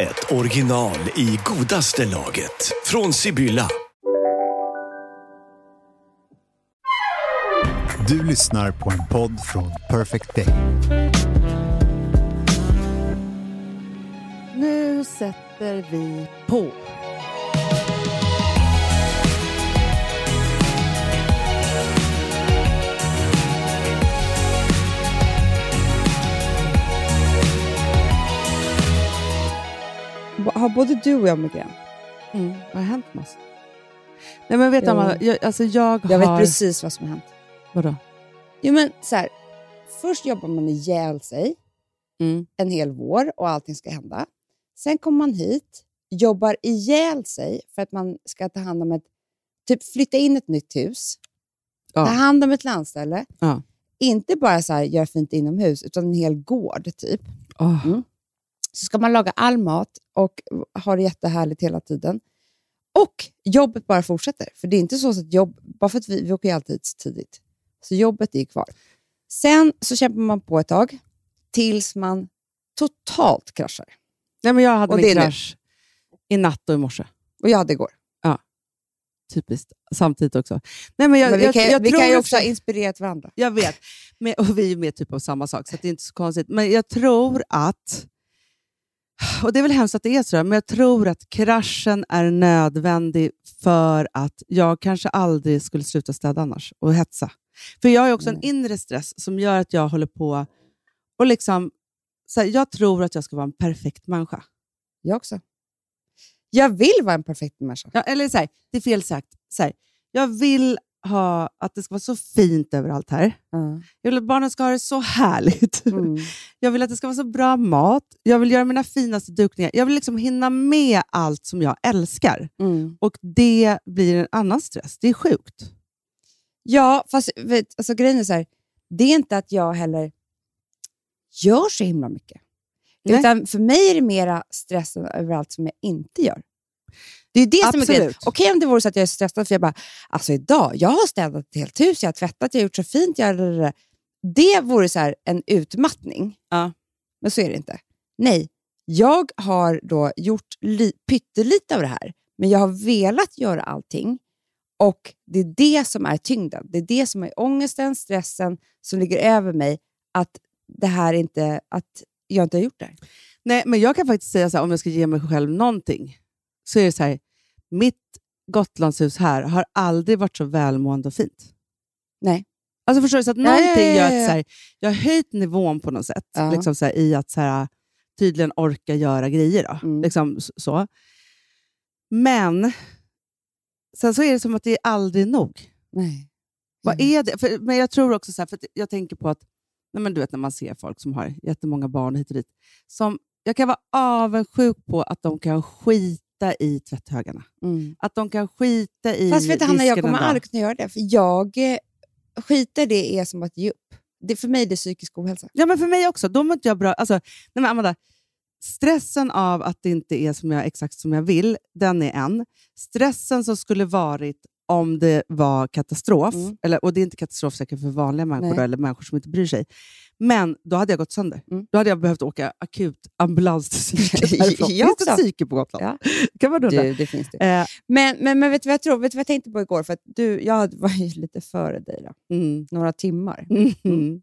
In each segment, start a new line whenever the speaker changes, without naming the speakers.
ett original i godaste laget. Från Sibylla.
Du lyssnar på en podd från Perfect Day.
Nu sätter vi på.
B- Har både du och jag migrän?
Mm.
Har det hänt Mas? Nej men vet du
Jo.
Amanda, jag, alltså jag,
Jag
har...
vet precis vad som har hänt.
Vadå?
Jo, men så här, först jobbar man ihjäl sig
Mm.
en hel vår och allting ska hända. Sen kommer man hit, jobbar ihjäl sig för att man ska ta hand om ett... Typ flytta in ett nytt hus,
Ja.
ta hand om ett landställe.
Ja.
Inte bara så här, gör fint inomhus, utan en hel gård typ.
Åh.
Mm. Så ska man laga all mat och ha det jättehärligt hela tiden. Och jobbet bara fortsätter. För det är inte så att jobb, bara för att vi, vi åker ju alltid så tidigt. Så jobbet är ju kvar. Sen så kämpar man på ett tag tills man totalt kraschar.
Nej men jag hade
Och det
min
är nu.
krasch i natt och i morse.
Och jag hade igår.
Typiskt. Samtidigt också. Nej men jag,
Men vi
jag,
kan,
jag
vi
tror
kan ju
att-
också ha inspirerat varandra.
Jag vet. Men, och vi är med typ av samma sak, så att det är inte så konstigt. Men jag tror att... Och Det är väl hemskt att det är så, men jag tror att kraschen är nödvändig för att jag kanske aldrig skulle sluta städa annars och hetsa. För jag har ju också en inre stress som gör att jag håller på och liksom... Så här, jag tror att jag ska vara en perfekt människa.
Jag också. Jag vill vara en perfekt människa.
Ja, eller så här, det är fel sagt. Så här, jag vill ha att det ska vara så fint överallt här.
Ja.
Jag vill att barnen ska ha det så härligt.
Mm.
Jag vill att det ska vara så bra mat. Jag vill göra mina finaste dukningar. Jag vill liksom hinna med allt som jag älskar.
Mm.
Och det blir en annan stress. Det är sjukt.
Ja, fast vet, alltså, grejen är så här, det är inte att jag heller gör så himla mycket.
Nej.
Utan för mig är det mera stressen över allt som jag inte gör. Det är ju det som är grejen.
Absolut.
Okej om det vore så att jag är stressad för jag bara, alltså idag, jag har städat ett helt hus, jag har tvättat, jag har gjort så fint, jag... har- Det vore så här en utmattning.
Ja.
Men så är det inte. Nej, jag har då gjort li- pyttelite av det här, men jag har velat göra allting. Och det är det som är tyngden. Det är det som är ångesten, stressen som ligger över mig. Att det här inte, att jag inte har gjort det här.
Nej, men jag kan faktiskt säga så här, om jag ska ge mig själv någonting, så är det så här, mitt Gotlandshus här har aldrig varit så välmående och fint.
Nej.
Alltså förstår du? Så att
ja,
någonting
ja,
gör att
ja.
så här, jag har höjt nivån på något sätt.
Ja.
Liksom så här, I att så här, tydligen orka göra grejer. Då.
Mm.
Liksom s- så. Men sen så är det som att det är aldrig nog.
Nej.
Vad
Mm.
är det? För, men jag tror också så här, för att jag tänker på att nej men du vet, när man ser folk som har jättemånga barn hit och dit. Som, jag kan vara avundsjuk på att de kan skita i tvätthögarna.
Mm.
Att de kan skita i
Fast vet du, Hanna, jag
disken en
kommer
dag.
aldrig kunna göra det. För jag eh, skiter det är som att ge upp. Det, för mig är det psykisk ohälsa.
Ja, men för mig också. Då mår inte jag bra. Alltså, nej men Amanda, stressen av att det inte är som jag, exakt som jag vill, den är en. Stressen som skulle varit om det var katastrof,
Mm.
eller, och det är inte katastrof säkert för vanliga människor
Nej.
då, eller människor som inte bryr sig, men då hade jag gått sönder.
Mm.
Då hade jag behövt åka akut ambulans till psyket
Jag
därifrån. Finns det
också.
psyke på Gotland?
Ja.
Kan man undra.
det finns det.
Eh,
Men, men, men vet du vad jag tror? Vet du vad jag tänkte på igår? För att du, jag var ju lite före dig, då.
mm,
några timmar.
mm, mm.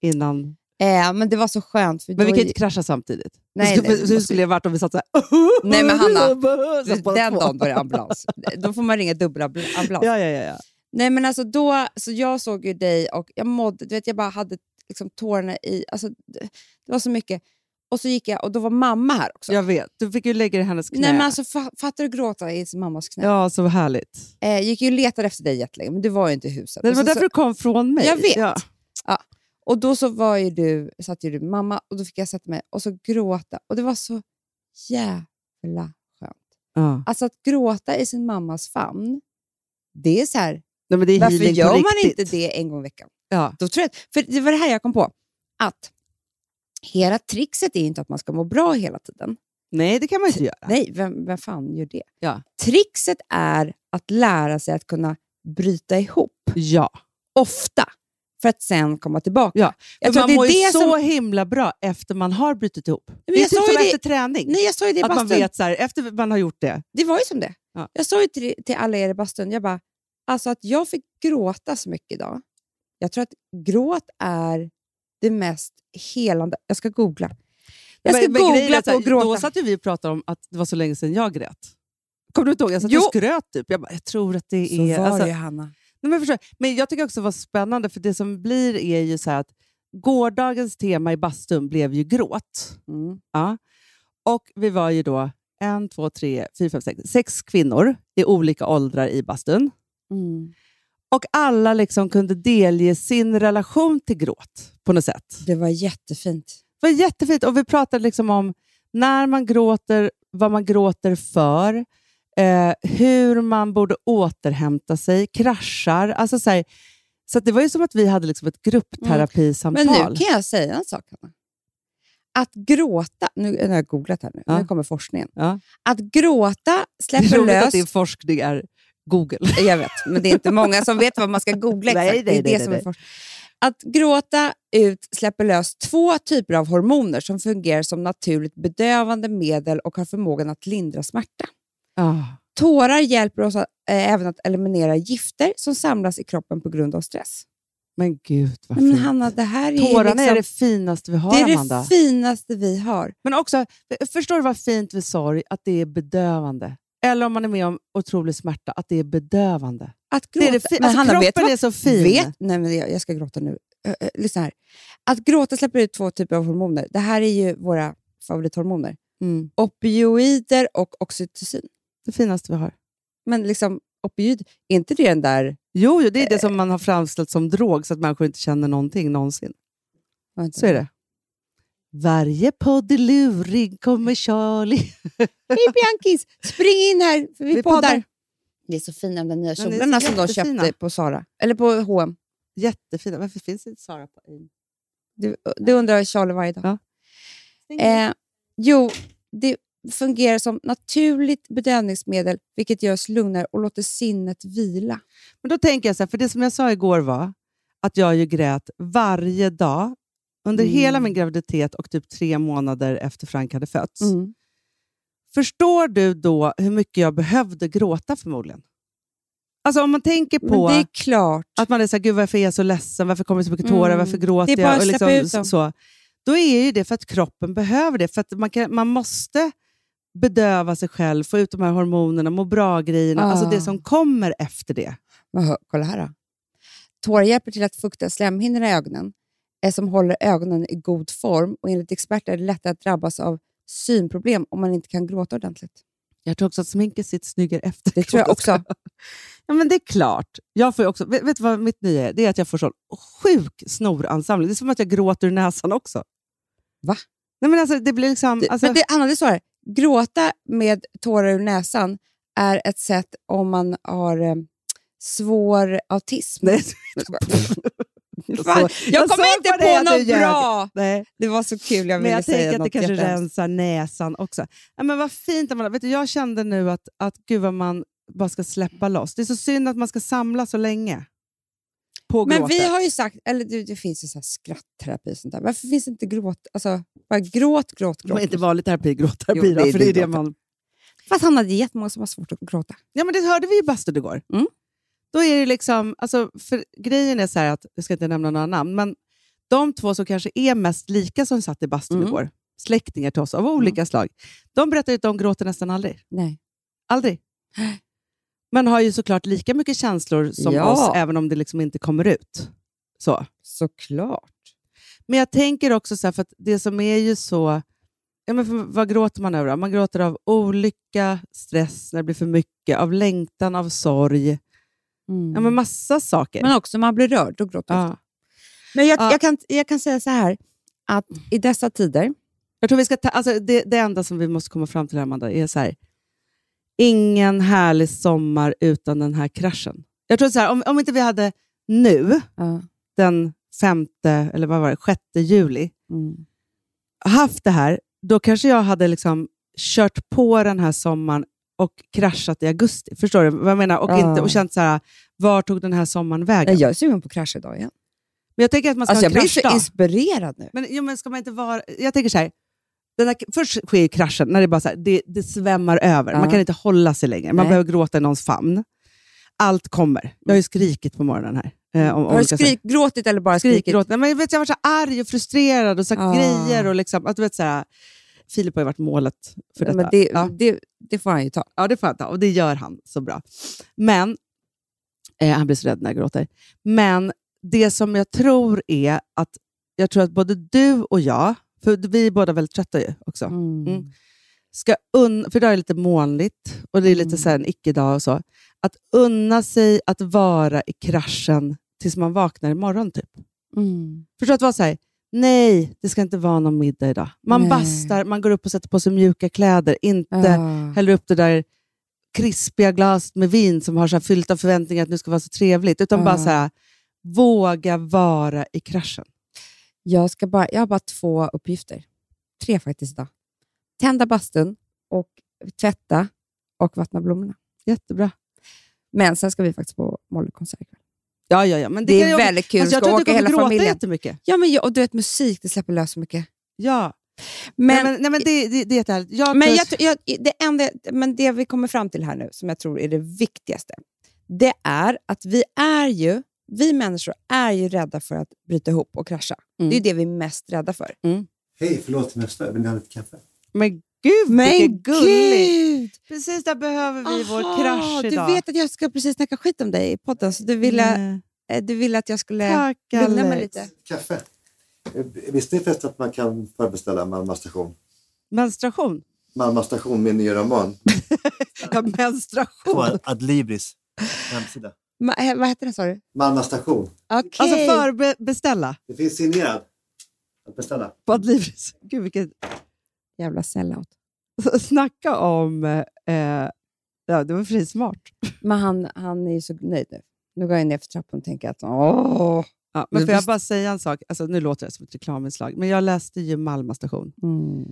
Innan.
Eh, men det var så skönt. För
Men vi
då
kan ju inte krascha samtidigt.
Nej,
Hur
nej,
skulle-
vi
hur
måste-
skulle det varit om vi satt så här?
Nej, men Hanna,
Så bara
den
två.
dagen var det ambulans. Då får man ringa dubbelambulans.
Ja, ja, ja, ja.
Nej, men alltså då, så jag såg ju dig och jag mådde, du vet, jag bara hade liksom tårarna i, alltså, det, det var så mycket. Och så gick jag och då var mamma här också.
Jag vet. Du fick ju lägga dig i hennes knä.
Nej, men alltså, fa- fattar du gråta i sin mammas knä?
Ja, så härligt.
Eh, gick ju och letade efter dig jättelänge, men du var ju inte i huset.
Det
Och
var
så,
därför du kom från mig.
Jag vet.
Ja.
så, och då så var ju du, satt ju du med mamma och då fick jag sätta mig och så gråta. Och det var så jävla
Ja.
Alltså att gråta i sin mammas famn, det är så här,
Nej, men det är
varför
healing på
gör man
riktigt.
inte det en gång i veckan?
Ja.
Då tror jag, att- för det var det här jag kom på, att hela trixet är inte att man ska må bra hela tiden.
Nej, det kan man inte göra.
Nej, vem, vem fan gör det?
Ja.
Trixet är att lära sig att kunna bryta ihop
Ja.
ofta för att sen komma tillbaka.
Ja,
Jag
Jag
tror
man
att det
mår
är
ju
det
så
som...
himla bra efter man har brutit ihop.
Men
det är
jag
typ
sa
som
ju det-
efter träning.
Nej, jag sa ju det i
att man
bastun.
vet så här, efter man har gjort det.
Det var ju som det.
Ja.
Jag sa ju till, till alla er i bastun, jag bara, alltså att jag fick gråta så mycket idag. Jag tror att gråt är det mest helande. Jag ska googla. Jag ska
Men- men grejen är
googla
så här,
på gråta.
Då satt ju vi och pratade om att det var så länge sedan jag grät. Kommer du inte ihåg? Jag satt
Jo.
och skröt typ. Jag, bara, jag tror att det
så
är...
var
alltså,
det ju, Hanna.
Nej, men, förstår, jag. men Jag tycker också det var spännande, för det som blir är ju så här att gårdagens tema i bastun blev ju gråt.
Mm.
Ja. Och vi var ju då en, två, tre, fyra, fem, sex, sex kvinnor i olika åldrar i bastun.
Mm.
Och alla liksom kunde delge sin relation till gråt på något sätt.
Det var jättefint.
Det var jättefint. Och vi pratade liksom om när man gråter, vad man gråter för, eh, hur man borde återhämta sig, kraschar. Alltså så här, så att det var ju som att vi hade liksom ett gruppterapisamtal.
Mm. Men nu kan jag säga en sak, Hanna. Att gråta, nu, nu har jag googlat här nu,
Ja.
nu kommer forskningen.
Ja.
Att gråta
det är
släpper
roligt att
lös...
din forskning är Google.
Jag vet, men det är inte många som vet vad man ska googla exakt.
Nej, nej,
det är
nej,
det
nej,
som är
nej.
först. Att gråta ut släpper lös två typer av hormoner som fungerar som naturligt bedövande medel och har förmågan att lindra smärta.
Ah.
Tårar hjälper oss att, eh, även att eliminera gifter som samlas i kroppen på grund av stress.
Men gud vad
Nej, Men
fint.
Hanna, det här är ju
Tårarna
liksom,
är det finaste vi har,
det, är
Amanda.
det finaste vi har.
Men också, förstår du vad fint vid sorg att det är bedövande? Eller om man är med om otrolig smärta, att det är bedövande.
Att
Det
gråta.
är det fi- alltså, kroppen är så fin.
Vet, nej men jag, jag ska gråta nu. Ö, ö, lyssna här. Att gråta släpper ut två typer av hormoner. Det här är ju våra favorithormoner.
Mm.
Opioider och oxytocin.
Det finaste vi har.
Men liksom, opioid, är inte det den där...
Jo, jo, det är det som man har framställt som drog så att människor inte känner någonting någonsin.
vad heter
Så är det. Varje podd i luring kommer Charlie.
Hej Bianchis! Spring in här, för vi,
Vi
poddar.
poddar.
Det är så fina de nya
de är
kjolarna
så
som de
jättefina.
köpte på Sara. Eller på H&M.
Jättefina. Varför finns inte Sara på en?
Det, det undrar Charlie varje dag.
Ja.
Eh, jo, det fungerar som naturligt bedövningsmedel, vilket gör oss lugnare och låter sinnet vila.
Men då tänker jag så här, för det som jag sa igår var att jag ju grät varje dag under
Mm.
hela min graviditet och typ tre månader efter Frank hade fötts.
Mm.
Förstår du då hur mycket jag behövde gråta förmodligen? Alltså om man tänker
Men
på
det är klart.
att man är så här, gud varför är jag så ledsen, varför kommer det så mycket tårar,
Mm.
varför gråter
Det är bara
jag? liksom
att släppa ut dem.
så, då är ju det för att kroppen behöver det. För att man, kan, man måste bedöva sig själv, få ut de här hormonerna, må bra-grejerna, alltså
Ah.
det som kommer efter det.
Aha, kolla här då. Tårar hjälper till att fukta slemhinnorna i ögonen, eh, som håller ögonen i god form. Och Enligt experter är det lättare att drabbas av synproblem om man inte kan gråta ordentligt.
Jag tror också att sminket sitter snyggare efter.
Det tror jag också.
Ja, men det är klart. Jag får ju också, vet, vet du vad mitt nya är? Det är att jag får sån sjuk snoransamling. Det är som att jag gråter ur näsan också.
Va?
Nej, men alltså, det blir liksom...
Det-
Alltså,
Men det, Anna, det är så här. Gråta med tårar ur näsan är ett sätt om man har eh, svår autism.
Nej,
Fan, jag
jag
kommer
såg
inte
på dig
på
att du
något
ljög.
bra!
nej.
Det var så kul, jag ville
Men jag
säga
tänker att det
något
kanske
jättehemskt.
rensar näsan också. Ja, men vad fint. Amanda. Vet du, jag kände nu att, att gud vad man bara ska släppa loss. Det är så synd att man ska samla så länge på
Men
gråten.
vi har ju sagt, eller det, det finns ju så här skrattterapi och sånt där. Varför finns det inte gråt? Alltså, bara gråt, gråt,
Men
gråt.
inte vanlig terapi, gråtterapi,
Jo, det
då,
är
för det är
din
det man
Fast han hade jättemånga som har svårt att gråta.
Ja, men det hörde vi i bastun igår.
Mm.
Då är det liksom, alltså, för grejen är så här att, jag ska inte nämna några namn, men de två som kanske är mest lika som satt i bastun
Mm.
igår, släktingar till oss av olika slag, de berättar ju att de gråter nästan aldrig.
Nej.
Aldrig. Men har ju såklart lika mycket känslor som
Ja.
oss, även om det liksom inte kommer ut. Så.
Såklart.
Men jag tänker också så här, för att det som är ju så... Ja, men för vad gråter man över? då? Man gråter av olycka, stress när det blir för mycket, av längtan, av sorg. Ja, men massa saker.
Mm. Men också man blir rörd, då gråter man.
ja.
Men jag,
Ja.
jag, kan, jag kan säga så här, att i dessa tider,
Jag tror vi ska ta, alltså det, det enda som vi måste komma fram till, här, Amanda, är så här. ingen härlig sommar utan den här kraschen. Jag tror så här, om, om inte vi hade nu,
Ja.
den femte, eller vad var det, sjätte juli,
Mm.
haft det här, då kanske jag hade liksom kört på den här sommaren och kraschat i augusti. Förstår du vad jag menar? Och,
Ja.
inte, och känt så här, var tog den här sommaren
Nej,
vägen?
Jag är sugen på krasch idag igen.
Men jag tänker att man ska
Alltså, jag
ha
blir
en
så
kraschdag.
inspirerad nu.
Men, jo, men ska man inte vara... Jag tänker så här. Den där, först sker ju kraschen när det bara så här, det, det svämmar över.
Ja.
Man kan inte hålla sig längre. Man
Nej. Mm.
behöver gråta i någons famn. Allt kommer. Jag har ju skrikit på morgonen här. Eh, om,
Har du skrik, gråtit eller bara
skrik,
skrikit?
gråt. Nej, men, jag vet, jag var så här arg och frustrerad och sagt
Ah.
grejer. Och liksom, att, du vet, så här, Filip har ju varit målet för
Ja,
detta.
men det,
ja.
det, det får han ju ta.
ja, det får jag ta. Och det gör han så bra. Men, eh, han blir så rädd när jag gråter. Men det som jag tror är att jag tror att både du och jag, för vi är båda väldigt trötta ju också, Mm. ska un- för idag är det lite molnigt och det är lite
Mm.
så här en icke-dag och så. Att unna sig att vara i kraschen tills man vaknar imorgon typ.
Mm.
Förstår du att vara så här, nej, det ska inte vara någon middag idag. Man
Nej.
bastar, man går upp och sätter på sig mjuka kläder, inte
Ja.
häller upp det där krispiga glaset med vin som har så här fyllt av förväntningar att nu ska vara så trevligt. Utan
Ja.
bara så här, våga vara i kraschen.
Jag, ska bara, jag har bara två uppgifter. Tre faktiskt idag. Tända bastun och tvätta och vattna blommorna.
Jättebra.
Men sen ska vi faktiskt på Mollykonsert ikväll.
Ja, ja, ja. Men det,
Det
kan
är
jag,
väldigt kul.
alltså, jag
ska
tror att
åka
du kommer
hela
gråta
familjen.
jättemycket.
Ja, men, jag- och du vet, musik det släpper lös så mycket.
Ja. Men,
Men,
nej, men, nej, men det, det, det är jättehärligt. Jag,
men,
tror-
jag, tror- jag, det enda, men det vi kommer fram till här nu, som jag tror är det viktigaste, det är att vi är ju, vi människor är ju rädda för att bryta ihop och krascha.
Mm.
Det är ju det vi är mest rädda för.
Hej, förlåt om jag stör. Vill ni ha lite kaffe?
men gud, vilket gulligt.
gud!
Precis, där behöver vi vår
Aha,
krasch idag.
Du vet att jag ska precis snacka skit om dig i podden, så du ville,
Nej.
eh, du ville att jag skulle
Tack,
lugna mig
Alex.
lite.
Kaffe. Eh, Visste ni förresten att man kan förbeställa Malmö station?
Menstruation.
Malmö station, min nya roman.
Ja, menstruation.
Adlibris hemsida.
Ma, eh, vad heter den sa du?
Malmö station.
Okej.
Alltså förbeställa
Det finns signerad att beställa.
på Adlibris. Gud, vilket...
Jävla sellout.
Snacka om... Eh, ja, det var precis smart.
Men han, han är ju så nöjd nu. Nu går jag ner för trappan och tänker att åh.
Ja, men
Men
får jag
visst-
bara säga en sak? Alltså, nu låter det som ett reklaminslag, men jag läste ju Malmö station.
Mm.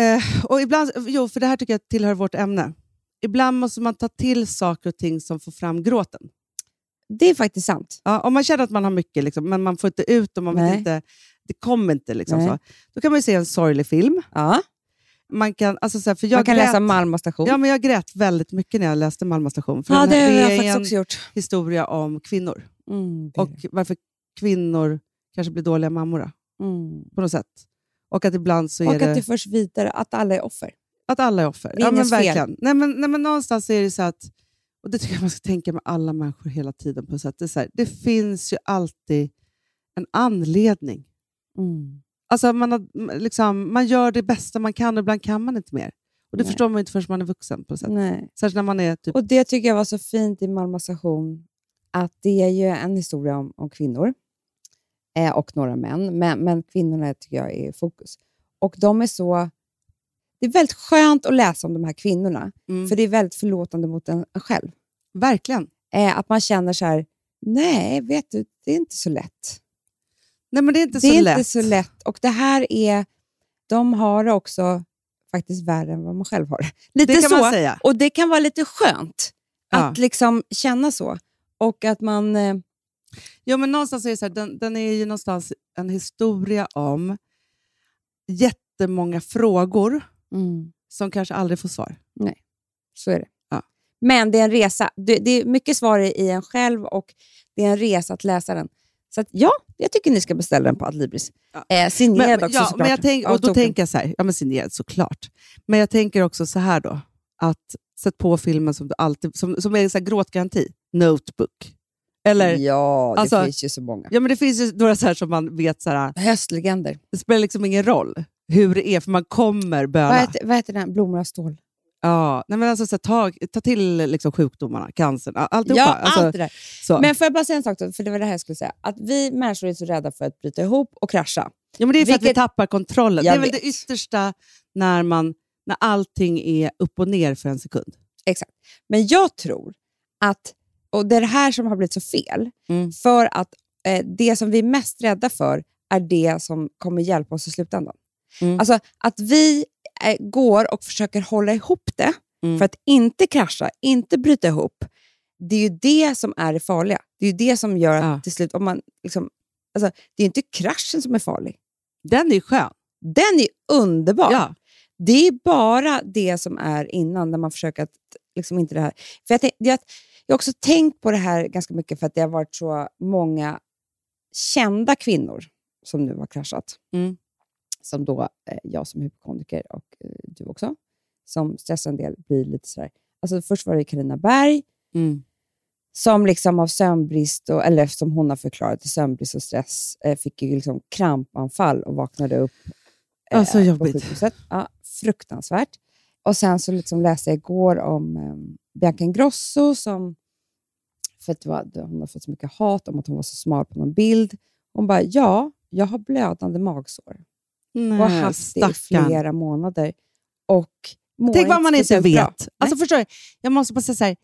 Eh, och ibland, jo, för det här tycker jag tillhör vårt ämne. Ibland måste man ta till saker och ting som får fram gråten.
Det är faktiskt sant.
Ja, om man känner att man har mycket, liksom, men man får inte ut dem, man vet
Nej.
inte, det kommer inte. Liksom,
Nej.
så. Då kan man ju se en sorglig film.
Ja.
Man kan, alltså, så här, för jag
Man kan
grät,
läsa Malmö station.
Ja, men jag grät väldigt mycket när jag läste Malmö station. För
Ja,
den
det
här-
har jag
är
faktiskt
en
också gjort.
historia om kvinnor
Mm, det är
och varför kvinnor kanske blir dåliga mammor då,
det. Mm.
på något sätt. Och att ibland så är
Och
det...
att det förs vidare, att alla är offer.
Att alla är offer.
Det är
Ja, men
ingens fel.
verkligen. Nej, men, nej, men någonstans är det så att, och det tycker jag man ska tänka med alla människor hela tiden, på så att det, är så här, det finns ju alltid en anledning. Alltså man, har, m- liksom, man gör det bästa man kan och ibland kan man inte mer. Och Det
Nej.
förstår man ju inte förrän man är vuxen. på något sätt.
Nej.
Särskilt när man är typ...
Och Det tycker jag var så fint i Malmö station, att det är ju en historia om, om kvinnor eh, och några män, men, men kvinnorna tycker jag är i fokus. Och de är så... Det är väldigt skönt att läsa om de här kvinnorna,
Mm.
för det är väldigt förlåtande mot en en själv.
Verkligen.
Eh, att man känner så här, nej, vet du, det är inte så lätt.
Nej, men det är inte,
det
så,
är
lätt.
inte så lätt. Och det här är, de har det också faktiskt värre än vad man själv har det. Lite
Det kan
så.
man säga.
Och det kan vara lite skönt
Ja.
att liksom känna så. Och att man... eh,
Jo, men någonstans är det så här, den, den är ju någonstans en historia om jättemånga frågor som kanske aldrig får svar.
mm, så är det.
Ja.
Men det är en resa. Det, det är mycket svar i en själv och det är en resa att läsa den. Så att, ja, jag tycker ni ska beställa den på Adlibris.
Ja.
Eh, signerad
men, men-
också
ja,
såklart.
men jag tänk,
av
och Då
Token.
tänker jag så här, ja men signerad såklart. Men jag tänker också så här då, att sätt på filmen som du alltid, som, som är så här gråtgaranti, Notebook. Eller, ja.
Ja, det
alltså-
finns ju så många.
men det finns ju några så här som man vet, så här,
Höstlegender.
det spelar liksom ingen roll hur det är, för man kommer
Vad
böla.
heter, vad heter den? Blommor av stål.
Ja, nej men alltså, så här, ta, ta till liksom, sjukdomarna, cancern, all- alltihopa.
Ja,
alltså,
allt det där.
så.
Men får jag bara säga en sak då, för det var det här jag skulle säga. Att vi människor är så rädda för att bryta ihop och krascha.
ja, men det är för att vi
vilket-
tappar kontrollen. Det
Jag
är väl
vet.
det yttersta när man när allting är upp och ner för en sekund.
Exakt. Men jag tror att, och det är det här som har blivit så fel,
Mm.
för att eh, det som vi är mest rädda för är det som kommer hjälpa oss i slutändan.
Mm.
Alltså att vi eh, går och försöker hålla ihop det
Mm.
för att inte krascha, inte bryta ihop. Det är ju det som är det farliga. Det är ju det som gör att
Ja.
till slut, om man liksom, alltså, det är inte kraschen som är farlig.
Den är ju skön.
Den är underbar.
Ja.
Det är bara det som är innan, när man försöker att liksom inte det här... För jag, tänk, jag, jag har också tänkt på det här ganska mycket för att det har varit så många kända kvinnor som nu har kraschat.
Mm.
Som då eh, jag som hypokondriker och eh, du också, som stressar en del, blir lite sådär... Alltså först var det Carina Berg
Mm.
som liksom av sömnbrist, och, eller som hon har förklarat, sömnbrist och stress, eh, fick ju liksom krampanfall och vaknade upp
Ja, så Alltså, jobbigt.
Eh, på sjukhuset. Ja, fruktansvärt. Och sen så liksom läste jag igår om eh, Bianca Ingrosso som, för att det var, hon har fått så mycket hat om att hon var så smal på någon bild. Hon bara, ja, jag har blödande magsår
Nej,
och har haft det i
Mm, stackarn.
flera månader. Och mår
Tänk vad man inte
speciellt bra.
vet. Alltså, förstår du? Jag måste bara säga så här.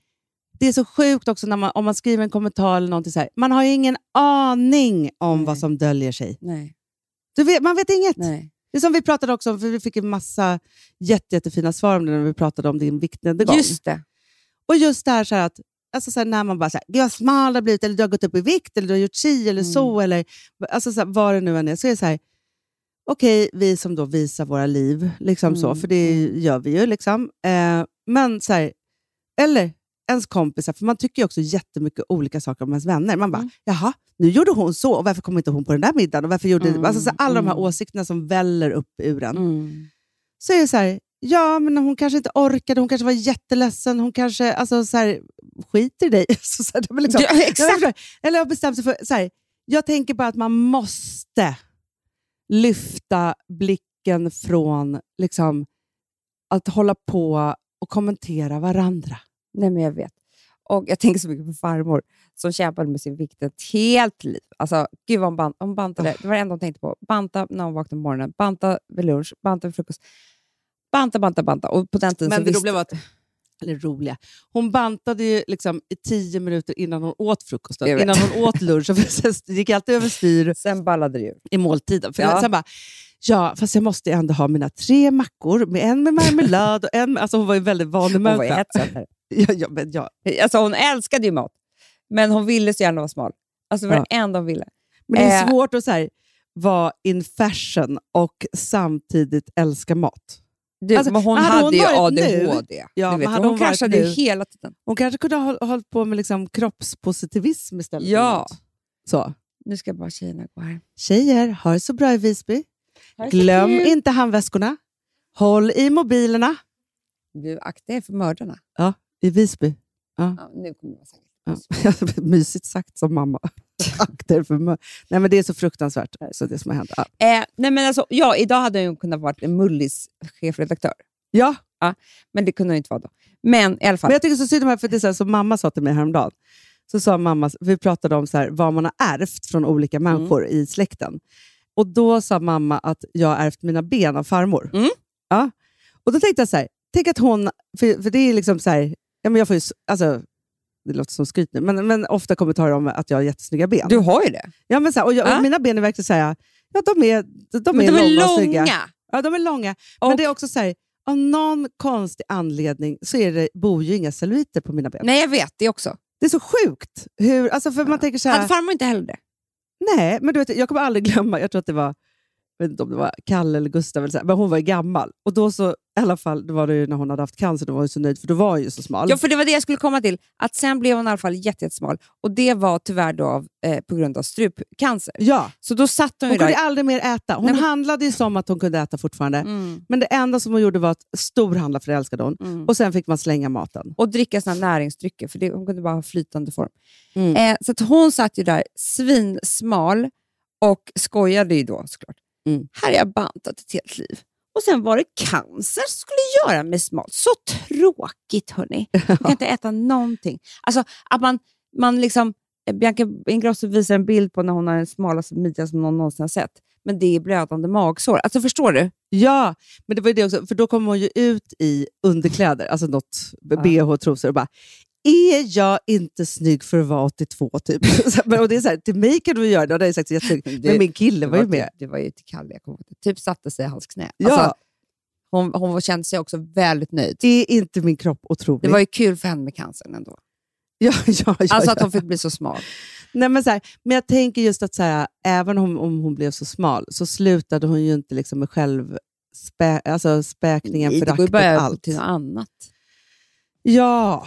Det är så sjukt också när man, om man skriver en kommentar eller någonting så här. Man har ju ingen aning om
Nej.
vad som döljer sig.
Nej,
Du vet, man vet inget.
nej.
Det är som vi pratade också om, för vi fick en massa jätte, jättefina svar om det när vi pratade om din viktnedgång.
Just det.
Och just det här, så här att alltså så här, när man bara säger jag är smal, har blivit, eller du har gått upp i vikt, eller du har gjort si eller
Mm.
så, eller alltså så här, vad det nu än är, så är det så här, okej, vi som då visar våra liv, liksom så,
Mm,
för det gör vi ju. liksom. Eh, men så här, eller ens kompisar, för man tycker ju också jättemycket olika saker om ens vänner. Man
Mm.
bara, jaha, nu gjorde hon så, och varför kom inte hon på den där middagen? Och varför gjorde
Mm,
alltså, så här, alla de här
mm.
åsikterna som väller upp ur en så är det så här, ja, men hon kanske inte orkade, hon kanske var jätteledsen, hon kanske alltså, så här, skiter i dig. Så, så här, det var liksom,
Ja, exakt.
Jag förstår. Eller har bestämt sig för, så här, jag tänker bara att man måste lyfta blicken från liksom, att hålla på och kommentera varandra.
Nej, men jag vet. Och jag tänker så mycket på farmor som kämpade med sin vikt ett helt liv. Alltså, gud vad hon, ban- hon bantade. Det var det enda hon tänkte på. Banta när hon vaknade på morgonen, banta vid lunch, banta vid frukost. Banta, banta, banta. Och på den tiden så
Men det
visste...
roliga var att, eller roliga, hon bantade ju liksom i tio minuter innan hon åt frukosten.
Jag vet.
Innan hon åt lunch. För det gick alltid överstyr.
Sen ballade det ju.
i måltiden. För
Ja.
Sen bara, ja, fast jag måste ändå ha mina tre mackor, med en med marmelad och en med... Alltså hon var ju väldigt vanlig
Hon var ju
människa.
hetsätare.
Ja, ja, men ja.
Alltså, hon älskade ju mat, men hon ville så gärna vara smal. Alltså, det var
Ja.
det enda hon ville.
Men det är
Eh.
svårt att så här, vara in fashion och samtidigt älska mat.
Du,
Alltså,
men hon
hade
hade
hon
ju
varit nu-
ADHD.
Ja,
du
men
vet,
hade
hon,
hon varit
kraschade ju
nu-
hela tiden.
Hon kanske kunde ha hållit på med liksom kroppspositivism istället.
Ja.
för mat. Så.
Nu ska bara tjejerna gå här.
Tjejer, ha det så bra i Visby.
Ha det så
Glöm
kul.
inte handväskorna. Håll i mobilerna.
Du, akta er för mördarna.
I Visby.
Ja, nu kommer jag säkert.
Ja. Mysigt sagt som mamma. Akta er för mör- Nej, men det är så fruktansvärt, så det som har hänt. Ja.
Eh, nej men alltså, ja, idag hade hon kunnat vara en Mullis chefredaktör,
Ja,
men det kunde hon inte vara då. Men i alla fall,
men jag tycker så synd om det här, för det är så här, som mamma sa till mig häromdagen. Så sa mamma, vi pratade om så här, vad man har ärvt från olika
Mm.
människor i släkten. Och då sa mamma att jag har ärvt mina ben av farmor.
Mm.
Ja. Och då tänkte jag så här, tänk att hon, för, för det är liksom så här, ja, men jag får ju, s- alltså, det låter som skryt nu, men, men ofta kommentarer om att jag har jättesnygga ben.
du har ju det.
Ja, men så här, och jag, och
Ja.
Mina ben är verkligen så här, ja de är, de, de är,
de är
långa. och snygga.
långa.
Ja, de är långa. men
Och-
det är också så här, av någon konstig anledning så är det, bor ju inga celluliter på mina ben.
Nej, jag vet det också.
Det är så sjukt. Hur, alltså för man tänker så
Hade
här,
farmor inte heller det?
nej, men du vet, jag kommer aldrig glömma, jag tror att det var, jag vet inte om det var Kalle eller Gustav, eller så här, men hon var ju gammal. Och då så, i alla fall, det var det ju när hon hade haft cancer, då var hon ju så nöjd, för då var hon ju så smal.
Ja, för det var det jag skulle komma till. Att sen blev hon i alla fall jätte- jättesmal och det var tyvärr då av, eh, på grund av strupcancer.
ja.
Så då satt hon,
Hon
ju där.
kunde aldrig mer äta. Hon
Nej, men-
handlade ju som att hon kunde äta fortfarande.
Mm,
Men det enda som hon gjorde var att storhandla, för det älskade hon.
mm.
Och sen fick man slänga maten.
och dricka såna näringsdrycker, för det, hon kunde bara ha flytande form.
Mm.
Eh, så att hon satt ju där svinsmal och skojade ju då såklart.
Mm.
Här har jag bantat ett helt liv. Och sen var det cancer som skulle göra mig smal. Så tråkigt hörni. Jag kan inte äta någonting. Alltså att man, man liksom Bianca Ingrosso visar en bild på när hon har den smalaste midjan som någon någonsin har sett. Men det är blödande magsår. Alltså förstår du?
Ja, men det var ju det också, för då kom hon ju ut i underkläder, alltså något bh, trosor och bara är jag inte snygg för att vara 82 typ? Så, men- och det är så här, till mig kan du göra det, och det är sagt jättesnygg.
Det-
Men min kille var ju
typ-
med.
det var ju till Kalle, jag kommer ihåg. det. Typ satte sig i hans knä.
Ja.
Alltså, hon, hon var- kände sig också väldigt nöjd.
Är inte min kropp otrolig?
Det var ju kul för henne med cancern ändå.
ja, ja, ja,
Alltså
ja.
att hon fick bli så smal.
Nej, men, så här, men jag tänker just att så här, även om, om hon blev så smal så slutade hon ju inte liksom med själv spä, alltså späkningen,
Det går ju
föraktet,
bara
allt.
till något annat.
Ja,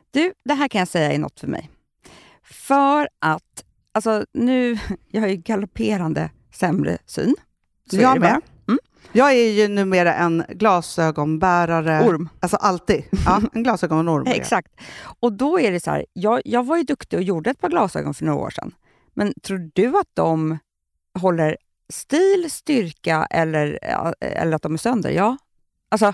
Du, det här kan jag säga är något för mig. För att, alltså nu, jag har ju galopperande sämre syn. Så är det Mm. bara.
Jag är ju numera en glasögonbärare.
Orm.
Alltså alltid. Ja, en glasögonorm. är jag.
Exakt. Och då är det så här, jag, jag var ju duktig och gjorde ett par glasögon för några år sedan. Men tror du att de håller stil, styrka eller, eller att de är sönder? Ja. Alltså,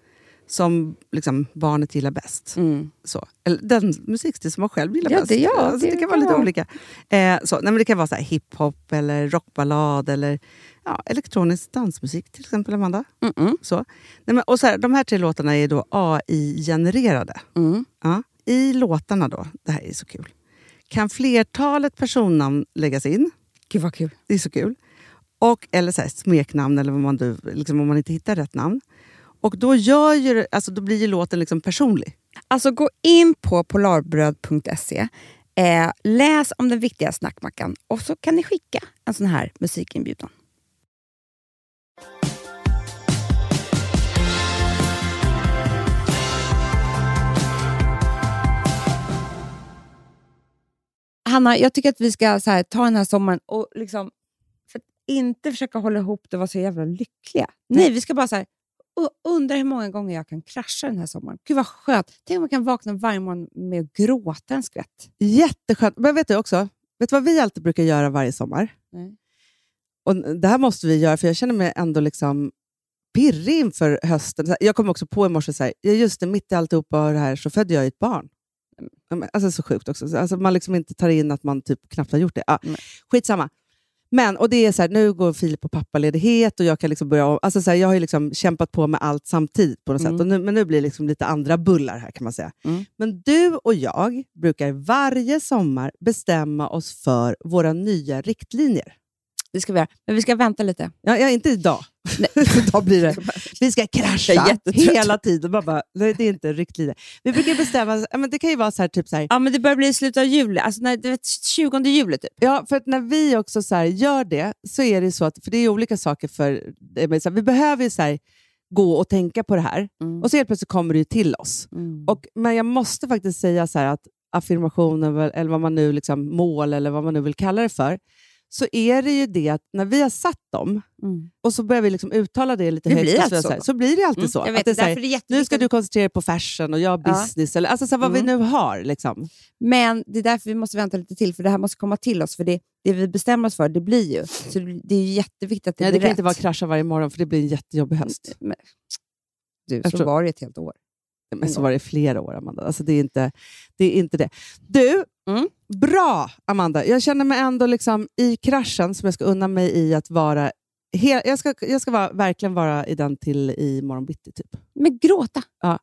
som liksom, barnet gillar bäst. Så. Eller den musikstil som man själv gillar
Mm. Ja,
bäst.
det- ja,
alltså, det,
det
kan vara
kan
lite
vara.
olika. Eh, så. Nej, men det kan vara så här hiphop, eller rockballad eller ja, elektronisk dansmusik till exempel, Amanda. Så. Nej, men, och så här, de här tre låtarna är
Mm.
då AI-genererade. Ja. I låtarna då, det här är så kul, kan flertalet personnamn läggas in.
Gud vad kul.
Det är så kul. Och, eller så här, smeknamn, eller vad man, du- liksom, om man inte hittar rätt namn. Och då, gör ju, det- alltså, då blir ju låten liksom personlig.
Alltså gå in på polarbröd.se, eh, läs om den viktiga snackmackan och så kan ni skicka en sån här musikinbjudan. Hanna, jag tycker att vi ska så här, ta den här sommaren och liksom, för att inte försöka hålla ihop det och vara så jävla lyckliga. Nej, vi ska bara så här, u- undrar hur många gånger jag kan krascha den här sommaren. Gud vad skönt. Tänk om jag kan vakna varje morgon med att gråta en skvätt.
Jätteskönt. Men vet du också, vet du vad vi alltid brukar göra varje sommar?
Nej.
Och det här måste vi göra, för jag känner mig ändå liksom pirrig inför hösten. Så här, Jag kom också på i morse, så här, ja, just det, mitt i alltihopa det här så födde jag ju ett barn.
Mm.
Ja, men, Alltså så sjukt också. Så, Alltså, man liksom inte tar in att man typ knappt har gjort det. Ja,
Nej.
skitsamma. Men, och det är så här, nu går Filip på pappaledighet och jag kan liksom börja om. Alltså så här, jag har ju liksom kämpat på med allt samtidigt på något
Mm.
sätt. Och nu, men nu blir det liksom lite andra bullar här kan man säga.
Mm.
Men du och jag brukar varje sommar bestämma oss för våra nya riktlinjer.
Det ska vi göra. Men vi ska vänta lite.
Ja, ja, inte idag. idag blir det. Vi ska
Jag är
krascha
jättetrött.
hela tiden. Man bara, nej, det är inte riktlinjer. Vi brukar bestämma oss, ja, men det kan ju vara så här, typ så här,
Ja, men det börjar bli i slutet av juli. Alltså när, du vet, 20 juli typ.
Ja, för att när vi också så här gör det, så är det så att, för det är ju olika saker för eh, men så här, vi behöver ju så här gå och tänka på det här.
Mm.
Och så helt plötsligt kommer det ju till oss. Och, men jag måste faktiskt säga så här att affirmationen, väl- eller vad man nu liksom, mål eller vad man nu vill kalla det för, så är det ju det att när vi har satt dem
Mm.
och så börjar vi liksom uttala det lite
Det
högt,
blir
och så,
alltid
vidare,
så. Mm,
så, här, så blir det alltid så.
Jag
att
vet,
det är så
därför
här,
är det jätteviktigt.
nu ska du koncentrera dig på fashion och jag
Ja.
business. Eller, alltså så här, vad vi
Mm.
nu har. Liksom.
Men det är därför vi måste vänta lite till, för det här måste komma till oss. För det, det vi bestämmer oss för, det blir ju. Så det, det är ju jätteviktigt att det
Det, Nej, det
blir
kan
rätt.
inte vara krascha varje morgon för det blir en jättejobbig höst.
Men- Du,
Jag
så
tror-
var det ett helt år.
Nej, Men så var det i flera år, Amanda. Alltså, det, är inte, det är inte det. Du,
Mm.
bra Amanda. Jag känner mig ändå liksom i kraschen som jag ska unna mig i att vara... He- jag ska, jag ska vara, verkligen vara i den till i morgon bitti. Typ.
Men gråta!
Ja.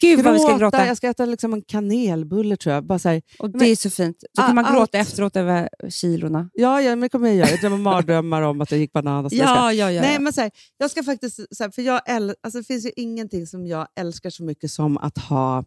Gud vad vi ska gråta.
Jag ska äta liksom en kanelbulle tror jag. Bara så här,
Och det
Men-
är så fint. Så kan
Ah,
man gråta
allt.
efteråt över kilorna.
ja, ja, men det kommer jag göra. Jag drömmer mardrömmar om att jag gick banan. Och så jag ska-
ja,
Nej, men så här, jag ska faktiskt, så här, för jag äl, alltså, det finns ju ingenting som jag älskar så mycket som att ha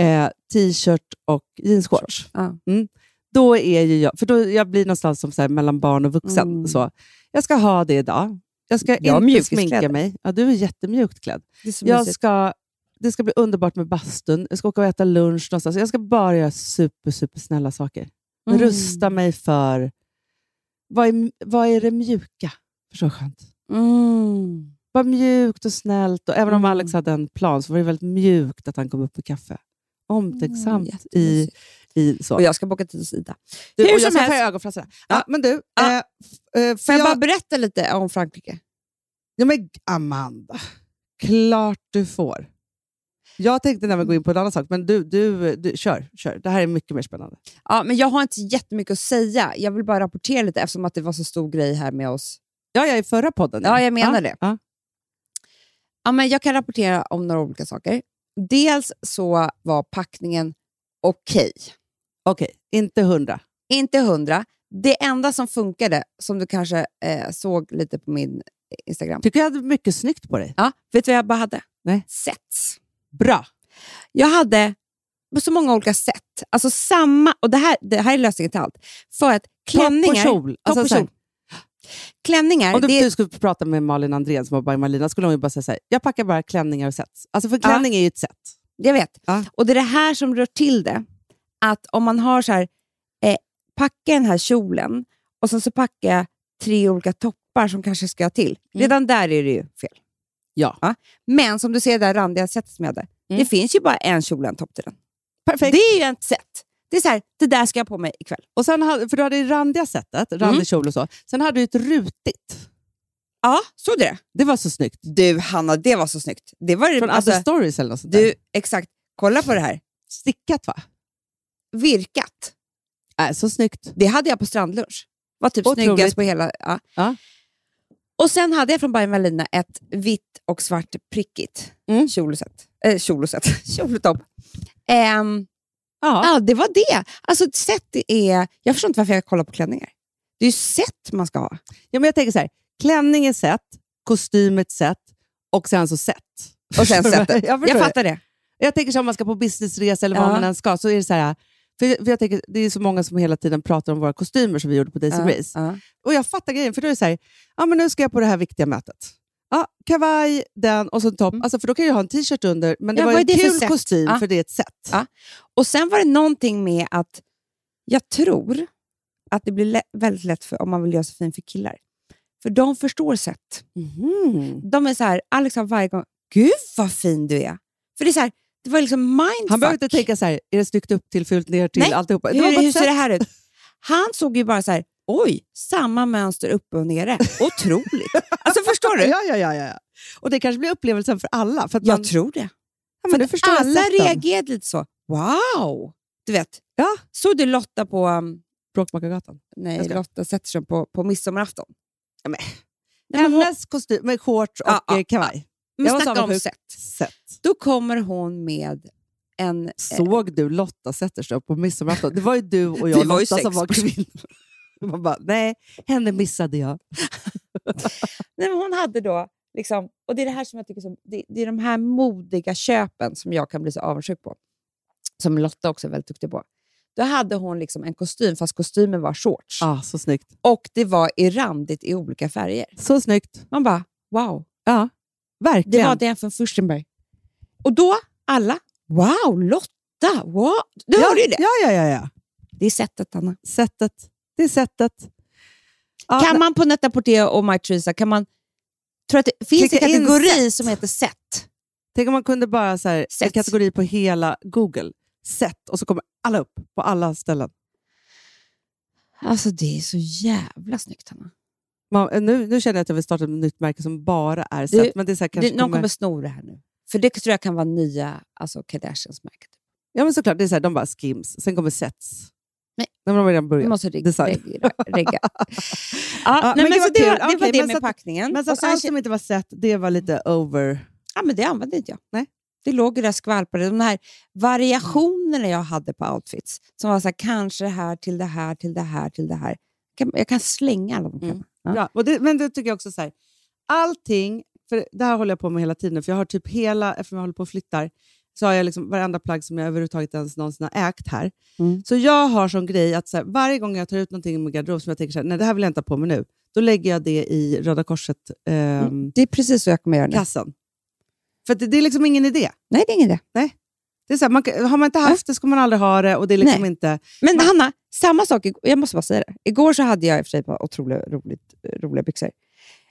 eh, t-shirt och jeansshorts.
Ja.
Mm. Då är ju jag, för då jag blir någonstans som så här, mellan barn och vuxen.
Mm.
Så. Jag ska ha det idag. Jag ska
Jag har
inte
mjukiskläder.
sminka mig. Ja, du är jättemjukt klädd.
det är så
Jag
mysigt.
ska, det ska bli underbart med bastun. Jag ska åka och äta lunch någonstans. Jag ska bara göra super, super snälla saker.
Mm.
Rusta mig för... Vad är, vad är det mjuka? Förstår skönt.
Mm.
Var mjukt och snällt. Och även om
Mm.
Alex hade en plan så var det väldigt mjukt att han kom upp med kaffe. Omtänksamt i,
Mm, jättemysigt.
i så.
Och jag ska boka tid hos Ida.
Du,
Hur
och
som
jag ska
helst.
ta ögonfransarna. Ja, men du,
Ja.
eh, f- eh,
Får
för
jag,
jag...
bara berätta lite om Frankrike?
Ja, men Amanda, klart du får. Jag tänkte nämligen gå in på en annan sak, men du, du, du kör, kör. Det här är mycket mer spännande.
Ja, men jag har inte jättemycket att säga. Jag vill bara rapportera lite eftersom att det var så stor grej här med oss.
Ja, jag är i förra podden.
Ja, jag menar
ja.
det.
Ja.
Ja, men jag kan rapportera om några olika saker. Dels så var packningen okej.
Okej, inte hundra.
Inte hundra. Det enda som funkade, som du kanske eh, såg lite på min Instagram.
Tycker jag hade mycket snyggt på dig.
Ja, vet du vad jag bara hade?
Nej.
Sets.
Bra.
Jag hade på så många olika sätt. Alltså samma, och det här, det här är lösningen till allt. För att klänningar...
Topp och kjol. Alltså,
och
så här,
kjol. Klänningar,
Om du,
det,
du skulle prata med Malin Andrén som var by Malina skulle hon ju bara säga så här, jag packar bara klänningar och sets. Alltså för klänning är ju ett set.
jag vet.
Ja.
Och det är det här som rör till det. Att om man har så här, eh, packa den här kjolen och sen så packar jag tre olika toppar som kanske ska till.
Mm.
Redan där är det ju fel.
Ja.
Men som du ser det där randiga sättet som jag hade. Det finns ju bara en kjol och en topp till den.
Mm. Perfekt.
Det är ju ett sätt. Det är så här, det där ska jag ha på mig ikväll.
Och sen, hade- för du hade det randiga setet, randig kjol och så. Sen hade du ett rutigt.
Ja, såg du det?
Det var så snyggt.
Du Hanna, det var så snyggt. Det var
Från
det, Mm, alltså,
Other Stories eller något sånt där.
du, exakt. Kolla på det här.
Stickat va?
Virkat.
Äh, så snyggt.
Det hade jag på strandlunch. Var typ
Otroligt.
snyggast på hela... Ja.
Ja.
Och sen hade jag från Bayern Melina ett vitt och svart prickigt
Mm.
kjoloset. Eh, kjoloset. Kjolotopp. Ehm,
Ja.
Ja, det var det. Alltså ett set är... Jag förstår inte varför jag kollar på klänningar. Det är ju set man ska ha.
ja, men jag tänker så här. Klänning är set, kostym är ett set och sen så set.
Och sen
Förstår du?
setet.
Jag,
Jag
jag,
fattar det.
jag tänker så här, om man ska på businessresa eller vad
Ja.
man än ska, så är det så här. För jag, för jag tänker, det är så många som hela tiden pratar om våra kostymer som vi gjorde på Daisy Grace.
Ja.
Och jag fattar grejen, för då är det så här, ja men nu ska jag på det här viktiga mötet. Ja, kavaj, den och så en topp. Alltså, för då kan jag ha en t-shirt under, men det
Mm. Ja,
var
vad är
en
det för
kul
sätt?
kostym
Ja.
för det är ett sätt.
Ja. Och sen var det någonting med att jag tror att det blir lä- väldigt lätt för, om man vill göra sig fin för killar. För de förstår set.
Mhm.
De är så här, Alex har varje gång, gud vad fin du är. För det är så här, det var liksom mindfuck.
Han behöver inte tänka så här, är det snyggt upp till, fult ner till,
Nej.
alltihopa. Det var
hur,
bara
hur
ett
ser det
sätt.
här ut? Han såg ju bara så här, oj, samma mönster uppe och nere. Otroligt. Alltså förstår du?
Ja, ja, ja, ja. Och det kanske blir upplevelsen för alla. För att man,
Jag tror det.
ja, men du förstår
Alla
sätten.
reagerade lite så, wow! Du vet,
Ja.
såg du Lotta på... um,
Bråkmakargatan.
Nej,
Jag ska-
Lotta Zetterström på, på midsommarafton. Ja, men. Nej, men hon,
Hennes kostym med shorts och
Ja, ja,
eh, kavaj.
men
jag var
snacka om
avundsjuk.
set.
Sätt.
Då kommer hon med en...
Såg du Lotta Zetterström på midsommarafton? Det var ju du och jag
Det var ju
Lotta som
sex
var kvinnor. Man bara, nej, henne missade jag.
Nej, men hon hade då... Liksom, och Det är det här som jag tycker som, det, det är de här modiga köpen som jag kan bli så avundsjuk på. Som Lotta också är väldigt duktig på. Då hade hon liksom en kostym, fast kostymen var shorts.
Ah, så snyggt.
Och det var i randigt i olika färger.
Så snyggt.
Man bara, wow.
Ja,
Det
verkligen.
var den från Furstenberg. Och då, alla, wow, Lotta! Wow. Du hörde ju det.
Ja, ja, ja, ja.
Det är sättet, Anna.
Sättet. Det är sättet. Ja,
kan
nej,
man på Netta Porteo och My Teresa, kan man... Tror att det finns
Klicka
en
in
kategori som heter set?
Tänk om man kunde bara så här, en
Sätt.
kategori på hela Google. Sätt. Och så kommer alla upp på alla ställen.
Alltså det är så jävla snyggt, Hanna.
Man, eh, nu, nu känner jag att jag vill starta ett nytt märke som bara är
Du,
sätt. Men det är så här, kanske
Det, någon kommer sno det här nu. För det tror jag kan vara nya alltså Kardashians märket.
Ja, men såklart. Det är så här, de bara skims. Sen kommer sets.
Nej.
De har redan
Vi
börjat.
måste regga.
Design.
regga, regga.
Ja,
ja, nej, men
gud,
så
vad
det
kul.
var det,
Okej,
var det
men
med
så att-
packningen.
Men så
och
att
sen,
allt som inte var sett, det var lite over...
ja, men det använde inte jag.
Nej.
Det låg ju där och skvalpade. De här variationerna jag hade på outfits. Som var så här, kanske det här till det här till det här till det här. Jag kan, jag kan slänga
Mm.
alla de kläderna. Ja.
Bra. Och det, men det tycker jag också så här. Allting, för det här håller jag på med hela tiden, för jag har typ hela, eftersom jag håller på och flyttar, så har jag liksom varenda plagg som jag överhuvudtaget ens någonsin har ägt här.
Mm.
Så jag har som grej att så här, varje gång jag tar ut någonting i min garderob som jag tänker så här, nej det här vill jag inte ha på mig nu, då lägger jag det i Röda Korset-kassan.
Det är precis så jag kommer göra nu.
För att det, det är liksom ingen idé.
Nej, det är ingen idé.
Det är så här, man, kan- har man inte haft det så kommer man aldrig ha det och det är liksom
Nej.
inte...
Men Hanna, samma sak. ig- Jag måste bara säga det. Igår så hade jag i och för sig bara otroligt roligt, roliga byxor.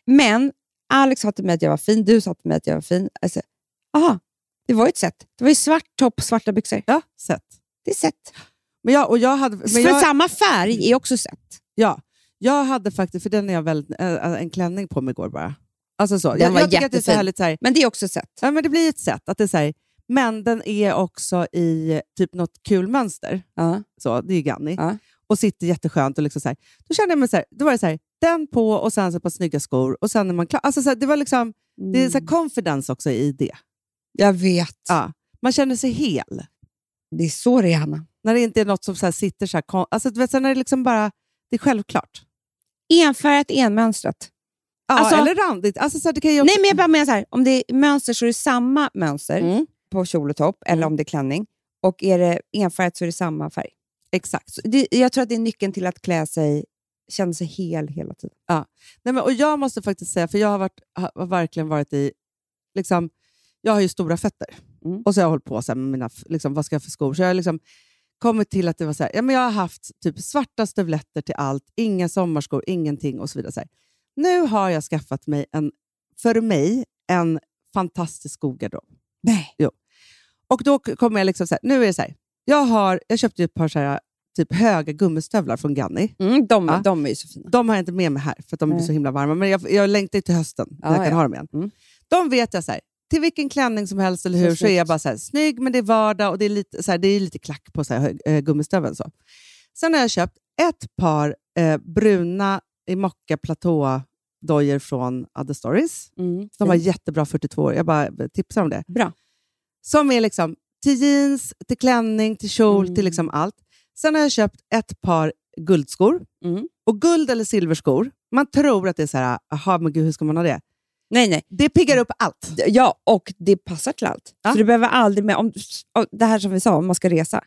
Men Alex sa till mig att jag var fin, du sa till mig att jag var fin. Alltså, aha, det var ju ett sätt. Det var ju svart topp, svarta byxor.
Ja, sett.
Det är sätt.
Men jag, och jag hade, men
För
jag,
samma färg är också sätt.
Ja, jag hade faktiskt, för den är jag väldigt, äh, en klänning på mig igår bara. Alltså så.
Den
jag,
var
jag tycker att det är så
jättefin.
härligt, så här,
Men det är också sätt.
ja, men det blir ett sätt. Att det är så här, men den är också i typ något kul mönster.
Ja.
Så, det är ju Ganni.
Ja.
Och sitter jätteskönt. Och liksom så här. Då kände jag mig så här, då var det så här, den på och sen så ett par snygga skor och sen är man klar. Alltså så här, det var liksom, det
Mm.
är så här confidence också i det.
Jag vet.
Ja. Man känner sig hel.
Det är så det är, Hanna.
När det inte är något som så här sitter så här, kon- alltså du vet, sen är det liksom bara, det är självklart.
Enfärgat, enmönstrat.
Ja,
Alltså-
eller randigt. Alltså, så här, det kan ju också,
Nej, men jag bara menar så här. Om det är mönster så är det samma mönster
Mm.
på kjol och topp, eller om det är klänning. Och är det enfärgat så är det samma färg.
Exakt.
Så det, jag tror att det är nyckeln till att klä sig, känna sig hel hela tiden.
Nej, men, och jag måste faktiskt säga, för jag har, varit, har verkligen varit i... Liksom, jag har ju stora fötter.
Mm.
Och så har jag hållit på så här med mina, f- liksom, vad ska jag ha för skor. Så jag har liksom kommit till att det var så här, ja, men jag har haft typ svarta stövletter till allt, inga sommarskor, ingenting och så vidare. Så här. Nu har jag skaffat mig, en, för mig, en fantastisk skogarderob.
Nej.
Och då k- kommer jag liksom så här, nu är det så här, jag, har, jag köpte ju ett par så här, typ höga gummistövlar från Ganni.
Mm, de,
Ja.
de är ju så fina.
De har jag inte med mig här, för att de blir
Nej.
så himla varma. Men jag, jag längtar ju till hösten, när
Ja,
jag kan
ja.
ha dem igen.
Mm.
De vet jag så här, till vilken klänning som helst eller
Så
hur, så, är
snyggt.
jag bara så här, snygg, men det är vardag och det är lite, så här, det är lite klack på så här, eh, gummistöveln. Så. Sen har jag köpt ett par eh, bruna i mocka platå dojor från Other Stories.
Mm,
De var
fint.
jättebra 42 år, jag bara tipsar eh, om det.
Bra.
Som är liksom till jeans, till klänning, till kjol,
Mm.
till liksom allt. Sen har jag köpt ett par guldskor.
Mm.
Och guld eller silverskor, man tror att det är så här, aha, men gud, hur ska man ha det?
Nej, nej.
Det piggar upp allt.
D- Ja, och det passar till allt.
Ja.
Så du behöver aldrig med, om, om- det här som vi sa, om man ska resa.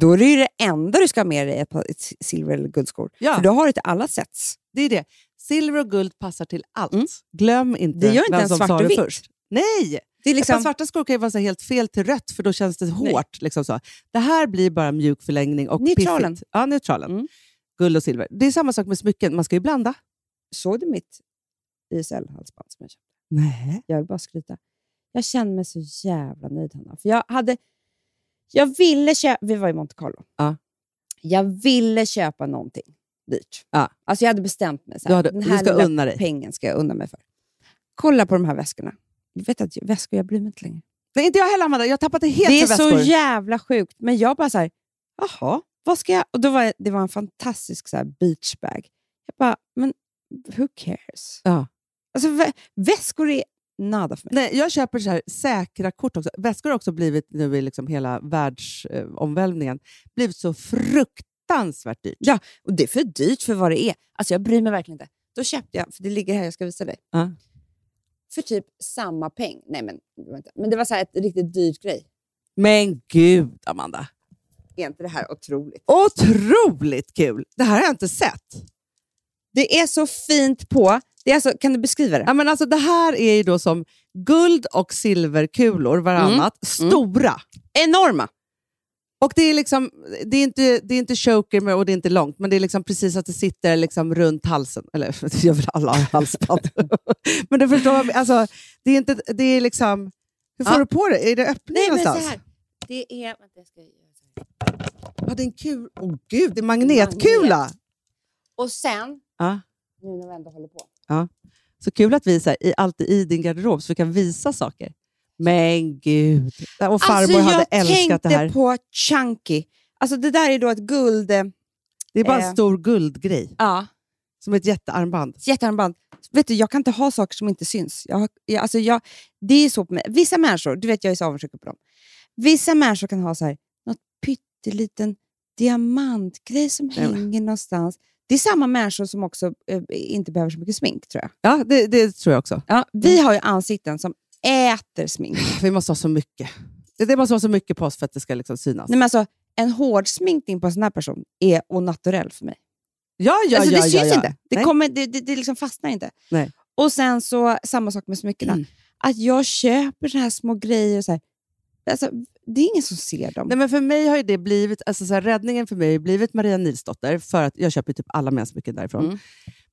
Då är det ju det enda du ska ha med dig ett par s- silver eller guldskor.
Ja.
För då har du till alla sätts.
Det är det. Silver och guld passar till allt.
Mm.
Glöm inte
Det gör inte
vem
ens
som
svart
sa
och
det
vitt.
först. Nej!
Det är
Liksom...
liksom,
Svarta skor kan ju vara så här helt fel till rött, för då känns det
Nej.
hårt. Liksom så. Det här blir bara mjuk förlängning och
Neutralen.
piffigt. Ja, neutralen.
Mm.
Guld och silver. Det är samma sak med smycken, man ska ju blanda.
såg du mitt YSL-halsband som jag köpte?
Nej.
Jag vill bara skryta. Jag känner mig så jävla nöjd, Hanna. För jag hade... Jag ville köpa... Vi var i Monte Carlo.
Ja.
Jag ville köpa någonting dyrt.
Ja.
Alltså jag hade bestämt mig. Så
Du,
här,
hade,
den
du
här
ska
lilla
unna dig.
pengen ska jag unna mig för. Kolla på de här väskorna. Jag vet att jag- väskor, jag bryr mig inte längre.
Nej, inte jag heller Amanda, jag tappade helt
Det är
för väskor.
så jävla sjukt. Men jag bara så här, jaha, vad ska jag... Och då var jag, det var en fantastisk så här beachbag. Jag bara, men who cares?
Ja.
Alltså vä- väskor är nada för mig.
Nej, jag köper så här säkra kort också. Väskor har också blivit, nu i liksom hela världsomvälvningen, eh, omvälvningen, blivit så fruktansvärt dyrt.
Ja, och det är för dyrt för vad det är. Alltså jag bryr mig verkligen inte. Då köpte jag, för det ligger här, jag ska visa dig.
Ja.
För typ samma peng. Nej, men, det var inte- men det var så här ett riktigt dyrt grej.
Men gud Amanda,
Är inte det här otroligt?
otroligt kul! Det här har jag inte sett.
Det är så fint på. Det är alltså, kan du beskriva det?
Ja, men alltså, det här är ju då som guld och silverkulor varannat, stora.
Mm. Enorma!
Och det är, liksom, det, är inte, det är inte choker med, och det är inte långt, men det är liksom precis att det sitter liksom runt halsen. Eller det gör väl alla halsband. men du förstår, vad jag- alltså, det är inte, det är liksom... Hur får
Ja.
du på det? Är det öppning
Nej, men så
någonstans?
här. Det är... Vänta, jag ska göra så här.
Ja, det är en kul... Åh gud, det är magnetkula!
Magnet. Och sen,
Ja.
nu när vi ändå håller på.
Så kul att vi så här, i, alltid i din garderob så vi kan visa saker. Men gud! Och farmor hade älskat det här.
Alltså, tänkte på chunky. Alltså det där är då ett guld... eh,
Det är bara en
eh,
stor guldgrej,
Ja.
som ett jättearmband.
Jättearmband. Vet du, jag kan inte ha saker som inte syns. Jag, har- jag, alltså jag, det är så på mig. Vissa människor, du vet jag är så avundsjuk på dem. Vissa människor kan ha så här, något pytteliten diamantgrej som
Nej, men-
hänger någonstans. Det är samma människor som också eh, inte behöver så mycket smink tror jag. Mm.
Ja, det, det tror jag också.
Ja, vi har ju ansikten som äter smink.
Vi måste ha så mycket. Det, det måste vara så mycket på oss för att det ska liksom synas.
Nej, men alltså, en hård sminkning på en sån här person är onaturell för mig.
ja, ja,
alltså,
ja,
det
ja,
syns
ja.
inte. Det,
Nej.
kommer, det, det, det liksom fastnar inte.
Nej.
Och sen så, samma sak med smyckena.
Mm.
Att jag köper såna här små grejer. Och så här. Alltså, det är ingen som ser dem.
Nej, men för mig har ju det blivit, alltså så här, räddningen för mig har ju blivit Maria Nilsdotter, för att jag köper ju typ alla mensmycken därifrån.
Mm.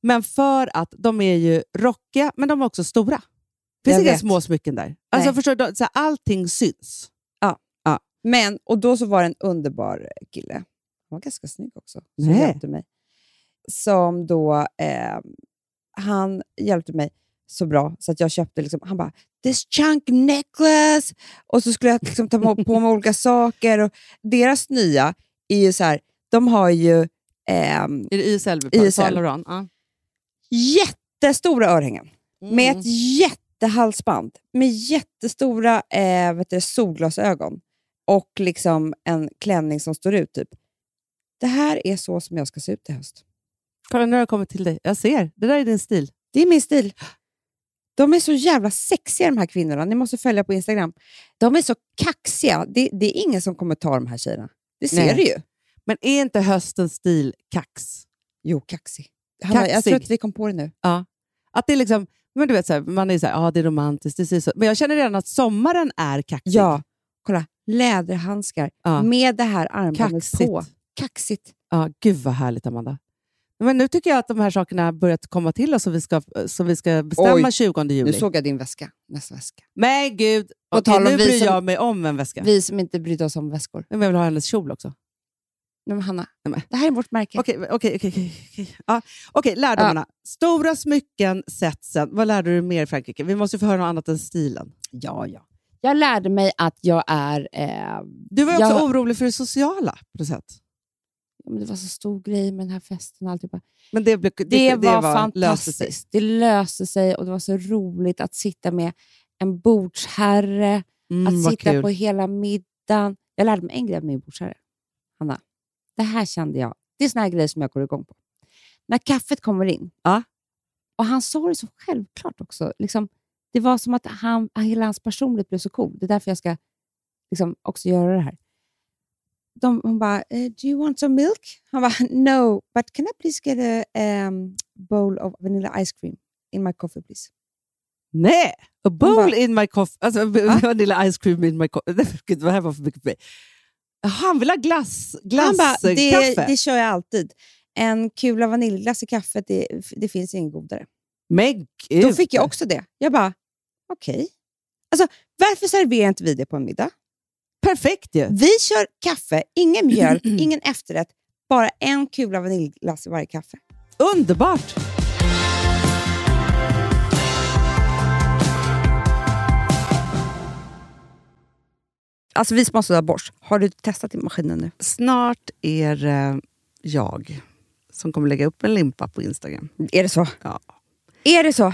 Men för att de är ju rockiga, men de är också stora. Det
Jag
finns inga
vet.
små smycken där. Alltså,
Nej.
förstår du, så här, allting syns.
Men, och då så var det en underbar kille. Han var ganska snygg också. Som
Nej.
hjälpte mig. Som då, eh, han hjälpte mig så bra så att jag köpte, liksom, han bara “this chunk necklace” och så skulle jag liksom ta må- på mig olika saker. Och deras nya är ju så här, de har ju ehm,
Är det YSL? vi
YSL.
pratar om? Ja.
jättestora örhängen.
Mm.
med ett jättehalsband, med jättestora eh, vet du, solglasögon och liksom en klänning som står ut. typ. Det här är så som jag ska se ut i höst.
Kolla, nu har jag kommit till dig. Jag ser. Det där är din stil.
Det är min stil. De är så jävla sexiga de här kvinnorna. Ni måste följa på Instagram. De är så kaxiga. Det, det är ingen som kommer ta de här tjejerna. Det ser
Nej.
du ju.
Men är inte höstens stil kax?
Jo, kaxig. Hanna, Jag
Kaxig.
tror att vi kom på det nu.
Att det är liksom, men du vet, så här, man är ju så här, ja ah, det är romantiskt, det ser så. Men jag känner redan att sommaren är kaxig.
Ja, kolla. Läderhandskar
Ja.
med det här armbandet
Kaxigt.
på. Kaxigt.
ja. Gud vad härligt Amanda. Men nu tycker jag att de här sakerna har börjat komma till oss som vi ska, som vi ska bestämma
Oj,
20 juli.
Nu såg jag din väska. Nästa väska.
Men gud,
På
okej,
tal om
nu
vi
bryr
som-
jag mig om en väska.
Vi som inte brydde oss om väskor.
Men jag vill ha hennes kjol också.
Nej, men Hanna,
Nej, men-
det här är vårt märke.
Okej, okej, okej. okej, okej. Ja, Okej, lärdomarna. Stora smycken, setsen. Vad lärde du dig mer i Frankrike? Vi måste ju få höra något annat än stilen.
Ja, ja. Jag lärde mig att jag är... Eh,
Du var ju också
Jag-
orolig för det sociala på något sätt.
men det var så stor grej med den här festen och alltihopa.
Men det, blev, det,
Det, var,
löste sig.
fantastiskt. Det löste sig och det var så roligt att sitta med en bordsherre,
Mm,
att
vad
sitta
kul.
på hela middagen. Utan jag lärde mig en grej av min brorsare. Hanna, det här kände jag. Det är såna här grejer som jag går igång på. När kaffet kommer in, ja. och han sa det så självklart också. Liksom, det var som att han, hela hans personlighet blev så cool. Det är därför jag ska liksom, också göra det här. De, hon bara, eh, do you want some milk? Han bara, no, but can I please get a um, bowl of vanilla ice cream in my coffee please?
Nej! A bowl
bara-
in my coffee. Alltså, vanilla ice cream in my coffee. Gud, vad det här var för mycket för mig. Jaha, Han vill ha glass,
Han
glass
bara,
eh,
det,
kaffe.
det kör jag alltid. En kula vaniljglass i kaffet, det, det finns ingen godare.
Men gud.
Då fick jag också det. Jag bara, okej. Alltså, varför serverar inte vi det på en middag?
Perfekt ju.
Vi kör kaffe, ingen mjölk, ingen efterrätt, bara en kula vaniljglass i varje kaffe.
Underbart!
Alltså vi som har sådär borst, har du testat i maskinen nu?
Snart är eh, jag som kommer lägga upp en limpa på Instagram.
Är det så?
Ja.
Är det så?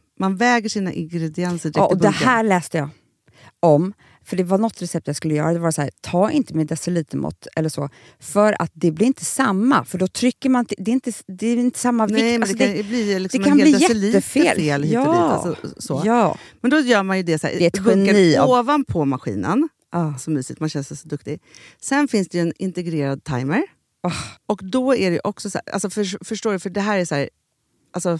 man väger sina ingredienser direkt
Ja,
i
och det
typ bunken.
här läste jag om. För det var något recept jag skulle göra. Det var så här, ta inte med decilitermått eller så. För att det blir inte samma. För då trycker man... till- Det är inte, det är inte samma vikt.
Nej, men
Alltså,
det kan ju bli liksom
det kan
en hel
bli
deciliter
jättefel.
fel hit och dit.
Ja.
Alltså, så.
Ja.
Men då gör man ju det så här,
Det är ett
bunkar
geni av-
ovanpå maskinen.
Ah.
Så mysigt, man känns så duktig. Sen finns det ju en integrerad timer.
Ah.
Och då är det ju också så här, alltså för, förstår du, för det här är så här, alltså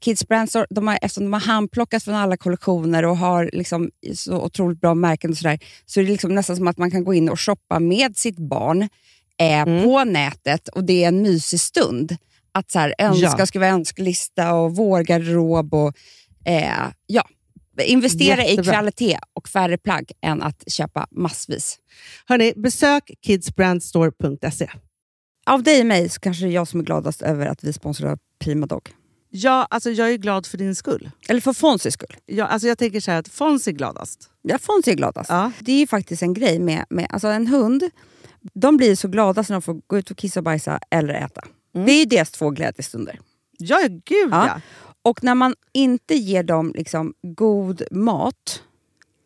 Kids Brand Store, de har, eftersom de har handplockats från alla kollektioner och har liksom så otroligt bra märken och sådär, så är det liksom nästan som att man kan gå in och shoppa med sitt barn eh,
Mm.
på nätet och det är en mysig stund. Att så här, önska
Ja.
och skriva önskelista och vårgarderob och eh, ja, Investera i
Jättebra.
kvalitet och färre plagg än att köpa massvis.
Hörni, besök kidsbrandstore.se.
Av dig och mig så kanske det är jag som är gladast över att vi sponsrar Prima Dog.
Ja, alltså jag är glad för din skull.
Eller för Fonzys skull.
Jag, alltså jag tänker så här att Fons är gladast.
Ja, Fonzie är gladast.
Ja.
Det är ju faktiskt en grej med, med alltså en hund. De blir så glada när de får gå ut och kissa och bajsa eller äta.
Mm.
Det är ju deras två glädjestunder.
Ja, gud
Ja.
ja.
Och när man inte ger dem liksom god mat,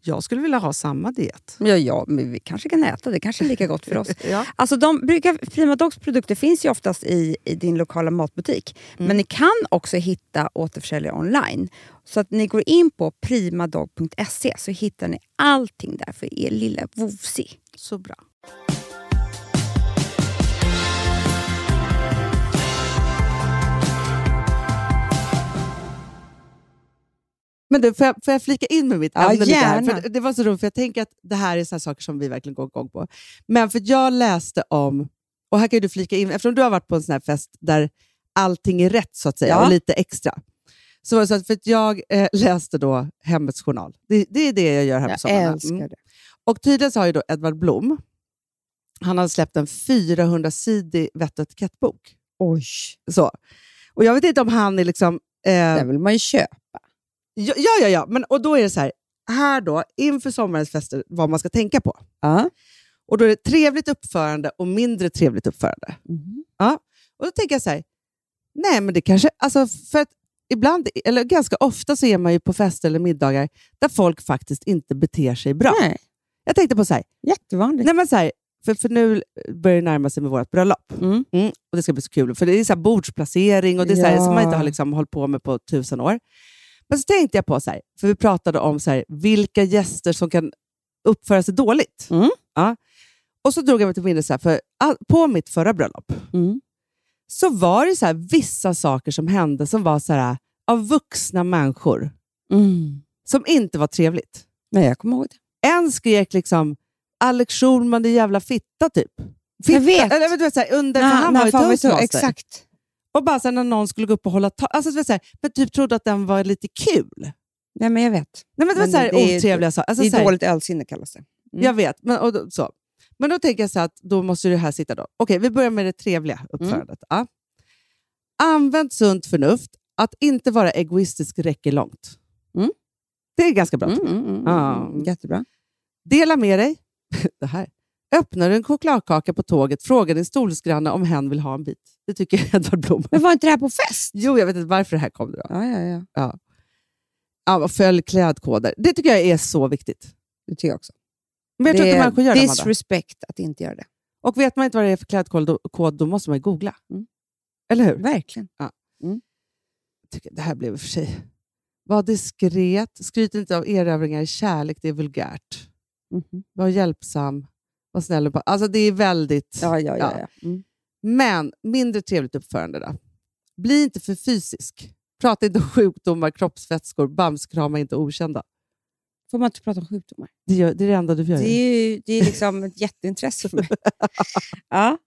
Jag skulle vilja ha samma diet.
ja, ja, men vi kanske kan äta. Det kanske är lika gott för oss.
Ja.
Alltså de brukar, Prima Dogs produkter finns ju oftast i, i din lokala matbutik. Men ni kan också hitta återförsäljare online. Så att ni går in på primadog.se så hittar ni allting där för er lilla vovsi.
Så bra. Men du, får, jag, får jag flika in med mitt
Ja,
ämne lite här?
gärna.
För det var så roligt, för jag tänker att det här är såna saker som vi verkligen går igång på. Men för jag läste om, och här kan ju du flika in, eftersom du har varit på en sån här fest där allting är rätt så att säga,
Ja.
och lite extra. Så var det så att, för att jag eh, läste då Hemmets Journal. Det, det är det jag gör här på sommaren. Mm.
det.
Och tydligen så har ju då Edvard Blom, han har släppt en 400-sidig vett och etikettbok.
Oj,
Så. Och jag vet inte om han är liksom... Eh,
den vill man ju köpa.
ja, ja, ja, ja. Men, och då är det så här, här då, inför sommarens fester, vad man ska tänka på. Och då är det trevligt uppförande och mindre trevligt uppförande.
Mm-hmm.
Och då tänker jag så här, nej men det kanske, alltså för att ibland, eller ganska ofta så är man ju på fester eller middagar där folk faktiskt inte beter sig bra.
Nej,
Jag tänkte på så här,
jättevanligt.
Nej, men så här, för, för nu börjar det närma sig med vårt bröllop.
Mm.
och Det ska bli så kul, för det är så här bordsplacering och det är så här,
Ja.
som man inte har liksom hållit på med på tusen år. Men så tänkte jag på, så här, för vi pratade om så här, vilka gäster som kan uppföra sig dåligt.
Mm.
Ja. Och så drog jag mig till minnes, så här, för all, på mitt förra bröllop
Mm.
så var det så här, vissa saker som hände som var så här, av vuxna människor
Mm.
som inte var trevligt.
Nej, jag kommer ihåg det.
En skrek liksom Alex Schulman, din jävla fitta, typ. Fitta,
Jag vet.
Eller, men du vet, så här, under, för han var ju toastmaster.
Exakt.
Och bara så här, när någon skulle gå upp och hålla tal. Alltså, du vet, så här, men typ trodde att den var lite kul. Nej,
Nej, men jag vet.
men det var
Men
så här,
det är-
otrevliga saker. Alltså,
det är
så här,
dåligt ölsinne kallas det. Mm.
Jag vet. Men, och, då- så. men då tänker jag så här, att då måste det här sitta. då. Okej, vi börjar med det trevliga uppförandet.
Mm.
Ja. Använd sunt förnuft. Att inte vara egoistisk räcker långt.
Mm.
Det är ganska bra.
Mm, mm, mm,
Ja.
mm. Jättebra.
Dela med dig. Det här. Öppnar du en chokladkaka på tåget, fråga din stolsgranne om hen vill ha en bit. Det tycker Edvard Blom.
Men var inte det här på fest?
Jo, jag vet inte varför det här kom. Då.
Ja, ja, ja.
Ja, och följ klädkoder. Det tycker jag är så viktigt.
Det tycker jag också.
Men jag tror inte människor gör det,
det är
Amanda.
disrespect att inte göra det.
Och vet man inte vad det är för klädkod, då, kod, då måste man ju googla.
Mm.
Eller hur?
Verkligen. Mm.
Tycker, det här blev i och för sig... Var diskret. Skryt inte av erövringar i kärlek. Det är vulgärt.
Mhm.
Var hjälpsam. Var snäll. och ba- Alltså, det är väldigt...
Ja, ja, ja. ja. Mm.
Men mindre trevligt uppförande då. Bli inte för fysisk. Prata inte om sjukdomar, kroppsvätskor, bamskrama inte okända.
Får man inte prata om sjukdomar?
Det, gör, det är det enda du gör.
Det
ju.
är ju det är liksom ett jätteintresse för mig. ja.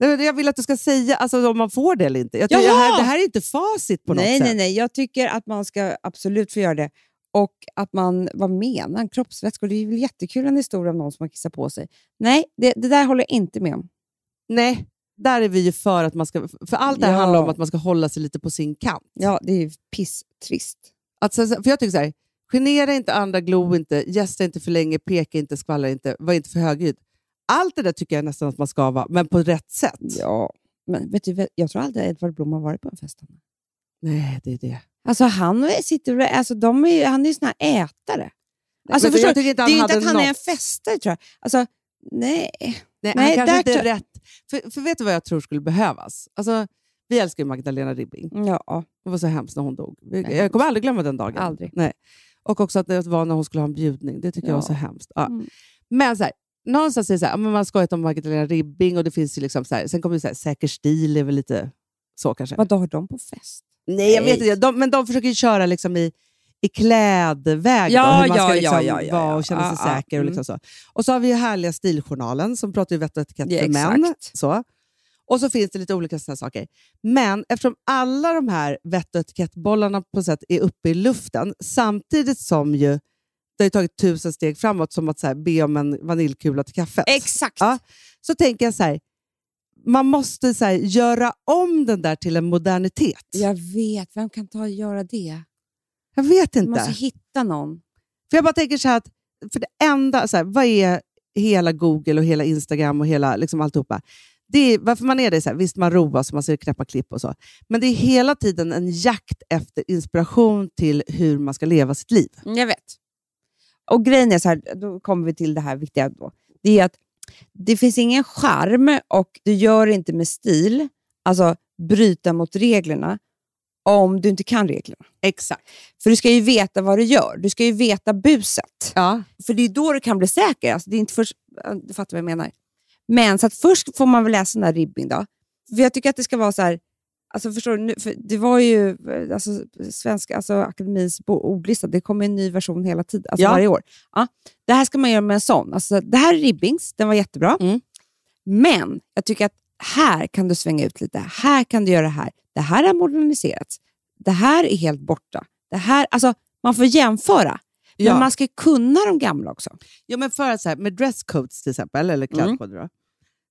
Nej, men Jag vill att du ska säga alltså, om man får det eller inte. Jag tror,
Jaha!
det, här, det här är inte facit på något
Nej,
sätt.
nej, nej. Jag tycker att man ska absolut få göra det. Och att man, vad menar han? Kroppsvätskor? Det är väl jättekul en historia om någon som har kissat på sig. Nej, det, det där håller jag inte med om.
nej. Där är vi ju för att man ska... För allt det här
Ja.
handlar om att man ska hålla sig lite på sin kant.
Ja, det är ju pisstrist.
Att, så- så- för jag tycker så här, genera inte andra, glo inte, gästa inte för länge, peka inte, skvallra inte, var inte för högljudd. Allt det där tycker jag nästan att man ska vara, men på rätt sätt.
Ja. Men vet du, vad? jag tror aldrig Edvard Blom har varit på en fest.
Nej, det är det.
Alltså han sitter och, alltså de är ju, han är ju sån här ätare. Alltså,
Men jag
förstår du?
tycker
Det är
inte han
ju inte
hade
att han är en
något.
festare tror jag. Alltså, nej.
Nej,
Nej,
han kanske
där
inte är
tror-
rätt. För, för vet du vad jag tror skulle behövas? Alltså, vi älskar ju Magdalena Ribbing.
Ja,
Det var så hemskt när hon dog. Vi-
Mm. Nej,
Jag kommer aldrig glömma den dagen.
Aldrig.
Nej. Och också att det var när hon skulle ha en bjudning. Det tycker jag var
Ja.
så hemskt. Ja.
Mm.
Men så här, någonstans är det så här, ja, men man skojat om Magdalena Ribbing och det finns ju liksom så här, sen kommer det så här, Säker stil är väl lite så kanske.
vad har de på fest?
Nej, jag vet inte. De, men de försöker ju köra liksom i, i klädväg.
Ja,
då, hur man
ja,
ska
ja,
liksom
ja, ja,
vara
ja.
och känna sig
Ja, Mm. ja.
säker. Och, liksom så. och så har vi ju härliga Stiljournalen som pratar ju vett och etikett
Ja,
för män.
exakt.
Så. Och så finns det lite olika sådana saker. Men eftersom alla de här vett och etikettbollarna på något sätt är uppe i luften, samtidigt som ju det har ju tagit tusen steg framåt, som att så här, be om en vaniljkula till kaffet
Exakt.
Ja. så tänker jag så här, man måste så här, göra om den där till en modernitet.
Jag vet, vem kan ta och göra det?
Jag vet
Man
inte.
måste hitta någon.
För jag bara tänker så här, att, för det enda, så här, vad är hela Google och hela Instagram och hela liksom alltihopa? Det är, varför man är det så här, visst man roas och man ser knäppa klipp och så, men det är hela tiden en jakt efter inspiration till hur man ska leva sitt liv.
Jag vet. Och grejen är så här, då kommer vi till det här viktiga då. Det är att det finns ingen charm och du gör det inte med stil, alltså bryta mot reglerna, om du inte kan reglerna.
Exakt.
För du ska ju veta vad du gör. Du ska ju veta buset.
Ja.
För det är då du kan bli säker. Alltså, det är inte först, du fattar vad jag menar. Men så att först får man väl läsa den där ribbing då. För jag tycker att det ska vara så här, alltså förstår du, nu, för det var ju eh, alltså, Svenska alltså, Akademins bo- ordlista, det kommer en ny version hela tiden, alltså
Ja.
varje år. Ja. Det här ska man göra med en sån. Alltså, det här är ribbings, den var jättebra.
Mm.
Men jag tycker att här kan du svänga ut lite, här kan du göra det här. Det här har moderniserats, det här är helt borta. Det här, alltså, man får jämföra. Men
Ja.
man ska ju kunna de gamla också. Mm.
Ja, men för att så här, med dresscodes till exempel, eller klädkoder, då,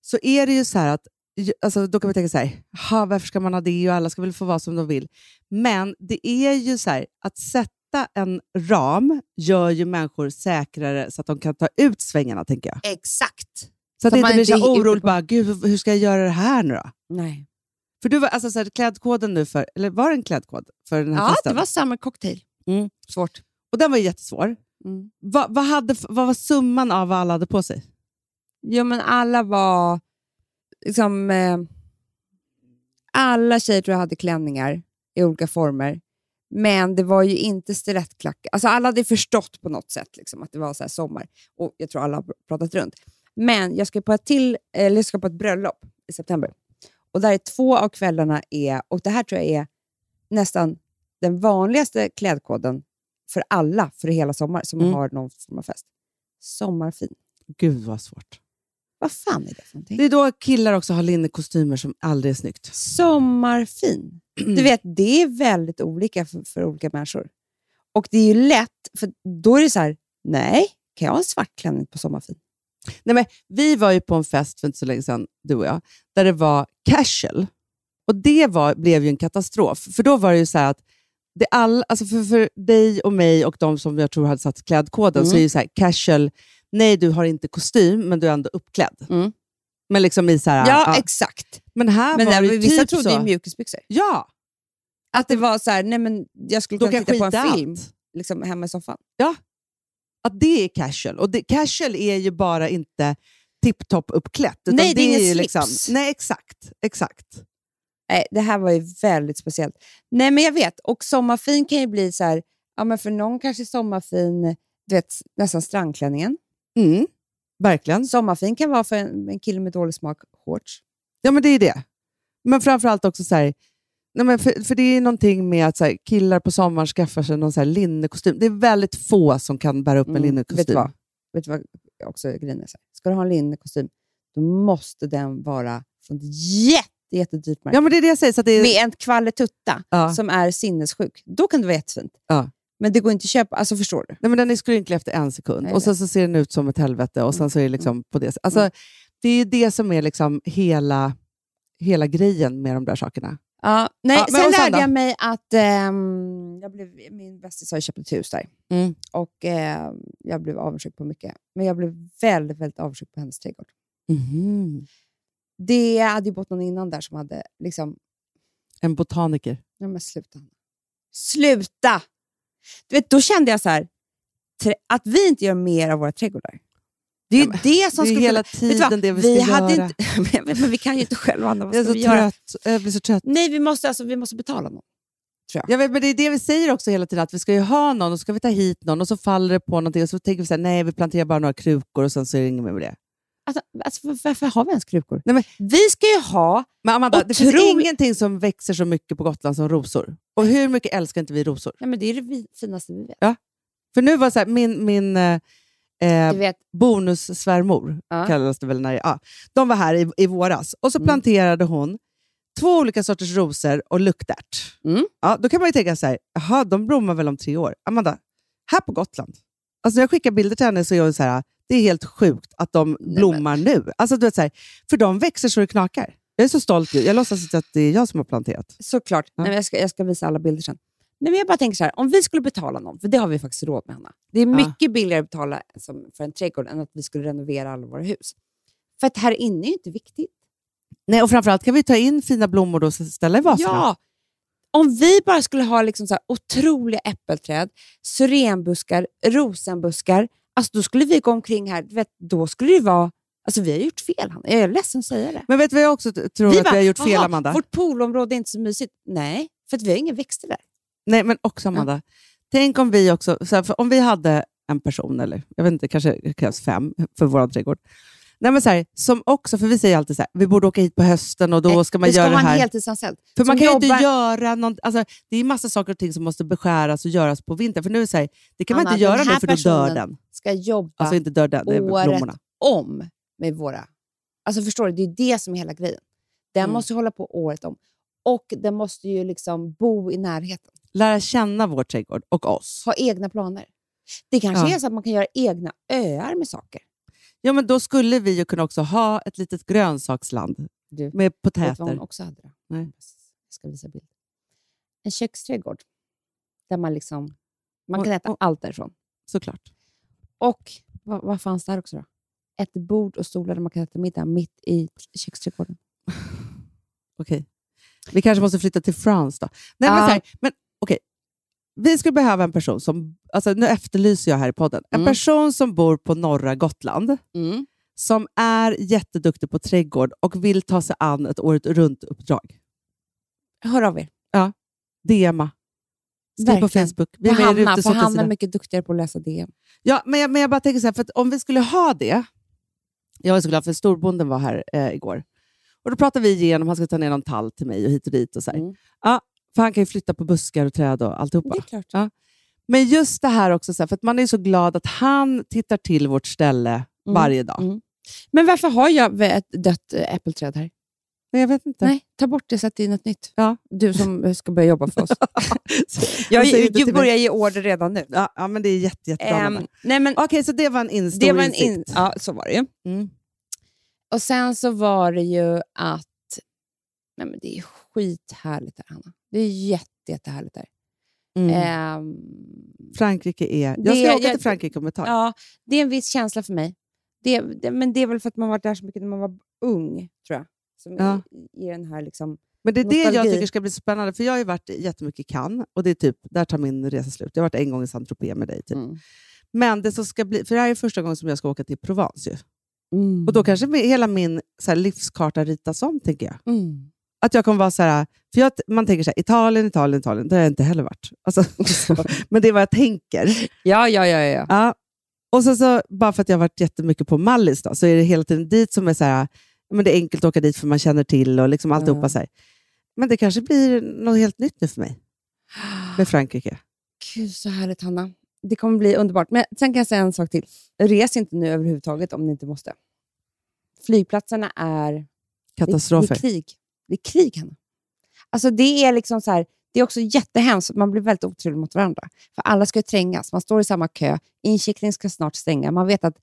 så är det ju så här att ju- Alltså, då kan man tänka så här, "Ha, varför ska man ha det och alla ska väl få vara som de vill. Men det är ju så här, att sätta en ram gör ju människor säkrare så att de kan ta ut svängarna, tänker jag.
Exakt.
Så att
Så
det
man
inte blir så
inte
här
är ute
oroligt,
på-
bara, Gud, hur- hur ska jag göra det här nu då?
Nej.
För du var, alltså, så här, klädkoden nu, för, eller var det en klädkod för den här
Ja,
festen?
det var samma cocktail.
Mm.
Svårt.
Och den var ju jättesvår.
Mm.
Va, vad, hade, vad var summan av vad alla hade på sig?
Jo, men alla var... Liksom, eh, alla tjejer tror jag hade klänningar i olika former. Men det var ju inte stilettklackar. Alltså alla hade förstått på något sätt liksom, att det var så här sommar. Och jag tror alla har pratat runt. Men jag ska på ett, till, eller jag ska på ett bröllop i september. Och där är två av kvällarna är, och det här tror jag är nästan den vanligaste klädkoden för alla för hela sommar som
Mm.
har någon form av fest. Sommarfin.
Gud vad svårt.
Vad fan är det för någonting?
Det är då killar också har linnekostymer som aldrig är snyggt.
Sommarfin.
Mm.
Du vet, det är väldigt olika för, för olika människor. Och det är ju lätt, för då är det så här, nej, kan jag ha en svart klänning på sommarfin?
Nej, men, vi var ju på en fest för inte så länge sedan, du och jag, där det var casual. Och det var, blev ju en katastrof. För då var det ju så här att det all, alltså för, för dig och mig och de som jag tror hade satt klädkoden
Mm.
så är det ju så här casual, nej du har inte kostym men du är ändå uppklädd.
Mm.
Men liksom i så här,
exakt.
men här
Men
var
där,
det ju
vissa
typ
trodde
så.
ju mjukisbyxor.
Ja,
Att det var så här, nej men jag skulle
då
kunna
kan jag
titta på
skita
en film
allt.
liksom, hemma i soffan.
att det är casual. Och det, casual är ju bara inte tipptopp uppklätt. utan
Nej, det är ingen
ju liksom-
slips.
Nej, exakt. exakt.
Nej, det här var ju väldigt speciellt. Nej, men jag vet. Och sommarfin kan ju bli så här, ja men för någon kanske sommarfin, du vet, nästan strandklänningen.
Mm, verkligen.
Sommarfin kan vara för en, en kille med dålig smak, shorts.
Ja, men det är det. Men framförallt också så här, nej men för, för det är någonting med att så här, killar på sommaren skaffar sig någon så här linnekostym. Det är väldigt få som kan bära upp en
Mm,
linnekostym.
Vet du vad, vet du vad också grejen är? så här? Ska du ha en linnekostym, då måste den vara från ett jätte, jättedyrt märke.
Ja, men det är det jag säger. Så att det är,
Med en kvalitutta
ja.
som är sinnessjuk. Då kan det vara jättefint.
Ja.
Men det går inte att köpa. Alltså förstår du?
Nej, men den är skrynklig efter en sekund
Nej,
och sen så ser den ut som ett helvete och sen så är det liksom på det sättet. Alltså,
Mm.
det är ju det som är liksom hela, hela grejen med de där sakerna.
Ja, nej,
Ja, men
sen
och sen
lärde
då?
jag mig att ehm, jag blev, min bästis har ju köpt ett hus där.
Mm.
Och ehm, jag blev avundsjuk på mycket. Men jag blev väldigt, väldigt avundsjuk på hennes trädgård.
Mm-hmm.
Det hade ju bott någon innan där som hade liksom,
En botaniker.
nej men sluta. Sluta! Du vet, då kände jag så här, tre- att vi inte gör mer av våra trädgårdar. Det är ju
Ja, men,
det som
det är
skulle
hela
kunna- Vet du vad?
tiden det vi ska
hade
göra.
Inte, men, jag vet, men vi kan ju inte själva, Anna. Vad
Jag, är
ska
så
vi göra?
trött. jag blir så trött.
Nej, vi måste, alltså, vi måste betala någon.
Jag vet, men det är det vi säger också hela tiden, att vi ska ju ha någon och så ska vi ta hit någon och så faller det på någonting och så tänker vi så här, nej vi planterar bara några krukor och sen så är det inget mer med det.
Alltså, alltså, var- varför har vi ens krukor?
Nej, men-
Vi ska ju ha...
Men Amanda, det
Otroligt.
finns ingenting som växer så mycket på Gotland som rosor. Och hur mycket älskar inte vi rosor?
Nej, men det är det vi- finaste vi vet.
För nu var det så här, min, min eh, eh,
Du vet,
bonussvärmor,
Ja.
kallas det väl när det, ja. Mm. de var här i, i våras och så planterade hon två olika sorters rosor och luktärt.
Mm.
Ja, då kan man ju tänka så här, jaha, de blommar väl om tre år. Amanda, här på Gotland, alltså när jag skickar bilder till henne så är hon så här, det är helt sjukt att de blommar nu. Alltså, du vet, så här, för de växer så det knakar. Jag är så stolt. ju. Jag låtsas inte att det är jag som har planterat.
såklart.
Ja.
Nej, men jag, ska, jag ska visa alla bilder sen. Nej, men jag bara tänker så här, om vi skulle betala någon, för det har vi faktiskt råd med, Hanna. Det är mycket billigare att betala som för en trädgård än att vi skulle renovera alla våra hus. För att här inne är ju inte viktigt.
Nej, och framförallt kan vi ta in fina blommor och ställa i vaserna.
Ja! Om vi bara skulle ha liksom så här otroliga äppelträd, syrenbuskar, rosenbuskar, alltså då skulle vi gå omkring här. Du vet, då skulle det vara... Alltså vi har gjort fel, Hanna. Jag är ledsen att säga det.
Men vet du vad jag också t- tror att vi har gjort fel,
"Jaha,
Amanda?
Vårt poolområde är inte så mysigt. Nej, för att vi har inga växter där.
Nej, men också Amanda. Tänk om vi också, så här, för om vi hade en person, eller jag vet inte, kanske det krävs fem för vår trädgård. Nej, men så här, som också, för vi säger alltid så här, vi borde åka hit på hösten och då
Nej,
ska man
vi
göra
ska
Eh, det
ha en
här.
heltidsanställd.
för man
som
kan ju inte
jobbar-
göra någon, alltså, Det är massa saker och ting som måste beskäras och göras på vintern. För nu är det så här, det kan man
Anna,
inte göra
den
nu
här
för då dör
personen-
den.
ska jobba
Alltså inte dör den, det är
året
blommorna.
om med våra... Alltså förstår du, det är det som är hela grejen. Den
Mm.
måste hålla på året om. Och den måste ju liksom bo i närheten,
Lära känna vår trädgård och oss.
ha egna planer. Det kanske
Ja.
är så att man kan göra egna öar med saker.
Ja, men då skulle vi ju kunna också ha ett litet grönsaksland
Du, vet
med
du vad hon
potäter.
också hade? Då?
Nej.
Jag ska visa bild. En köksträdgård där man liksom... Man
Och-
kan äta
och-
allt därifrån.
Såklart.
Och vad, vad fanns där också då? Ett bord och stolar där man kan äta middag mitt i köksträdgården.
Okej. Vi kanske måste flytta till France då. Nej, men
Ja.
så här, men okej. Vi skulle behöva en person som, alltså nu efterlyser jag här i podden, en
Mm.
person som bor på norra Gotland, som är jätteduktig på trädgård och vill ta sig an ett året runt-uppdrag.
Hör av er.
DMa. Skriv på
Verkligen.
Facebook. Vi
Vi
är
för
med i
Hanna, för
Rutesortens
Hanna är
sida.
mycket duktigare på att läsa DM.
Ja, men jag, men jag bara tänker så här, för att om vi skulle ha det, jag är så glad för storbonden var här eh, igår, och då pratade vi igenom, han ska ta ner någon tall till mig och hit och dit och så här.
Mm.
Ja, för han kan ju flytta på buskar och träd och alltihopa.
Det är klart.
Ja. Men just det här också, så här, för att man är så glad att han tittar till vårt ställe varje dag.
Mm. Men varför har jag ett dött eh, äppelträd här?
Men jag vet inte.
Nej, ta bort det sätt in ett nytt.
Ja.
Du som eh, ska börja jobba för oss.
Han säger inte till mig.
ge order redan nu.
Ja, ja, men det är jätte, jättebra.
Ehm,
Amanda.
nej men,
Okej, så det var en in,
det
stor
var en
insikt.
in, ja, så var det ju.
Mm.
Och sen så var det ju att... Nej men det är skithärligt här, Hanna. Det är jätte, jättehärligt här.
Mm.
Ehm,
Frankrike är...
det
Jag ska
är
åka
jätte-
till Frankrike om ett tag.
Ja, det är en viss känsla för mig. Det, det, men det är väl för att man varit där så mycket när man var ung, tror jag. Som
Ja.
i, i den här liksom...
Men det är det jag
Nostalgi.
tycker ska bli spännande, för jag har ju varit jättemycket i Cannes och det är typ, där tar min resa slut. Jag har varit en gång i Saint-Tropez med dig. Typ.
Mm.
Men det som ska bli, för det här är första gången som jag ska åka till Provence. Ju.
Mm.
Och då kanske mi- hela min så här, livskarta ritas om, tänker jag.
Mm.
Att jag kommer vara så här, för jag, man tänker så här, Italien, Italien, Italien, det har jag inte heller varit. Alltså, så. Men det är vad jag tänker.
Ja, ja, ja, ja.
Ja. Och sen så, bara för att jag har varit jättemycket på Mallis, då, så är det hela tiden dit som är så här, men det är enkelt att åka dit för man känner till och liksom alltihopa.
Ja.
Så här. Men det kanske blir något helt nytt nu för mig med Frankrike.
Gud, så härligt, Hanna. Det kommer bli underbart. Men sen kan jag säga en sak till. Res inte nu överhuvudtaget om ni inte måste. Flygplatserna är... Det, det
Katastrofer.
är krig. Det är krig, Hanna. Alltså det är liksom så här, det är också jättehemskt. Man blir väldigt otrevlig mot varandra. För alla ska ju trängas. Man står i samma kö. Incheckningen ska snart stänga. Man vet att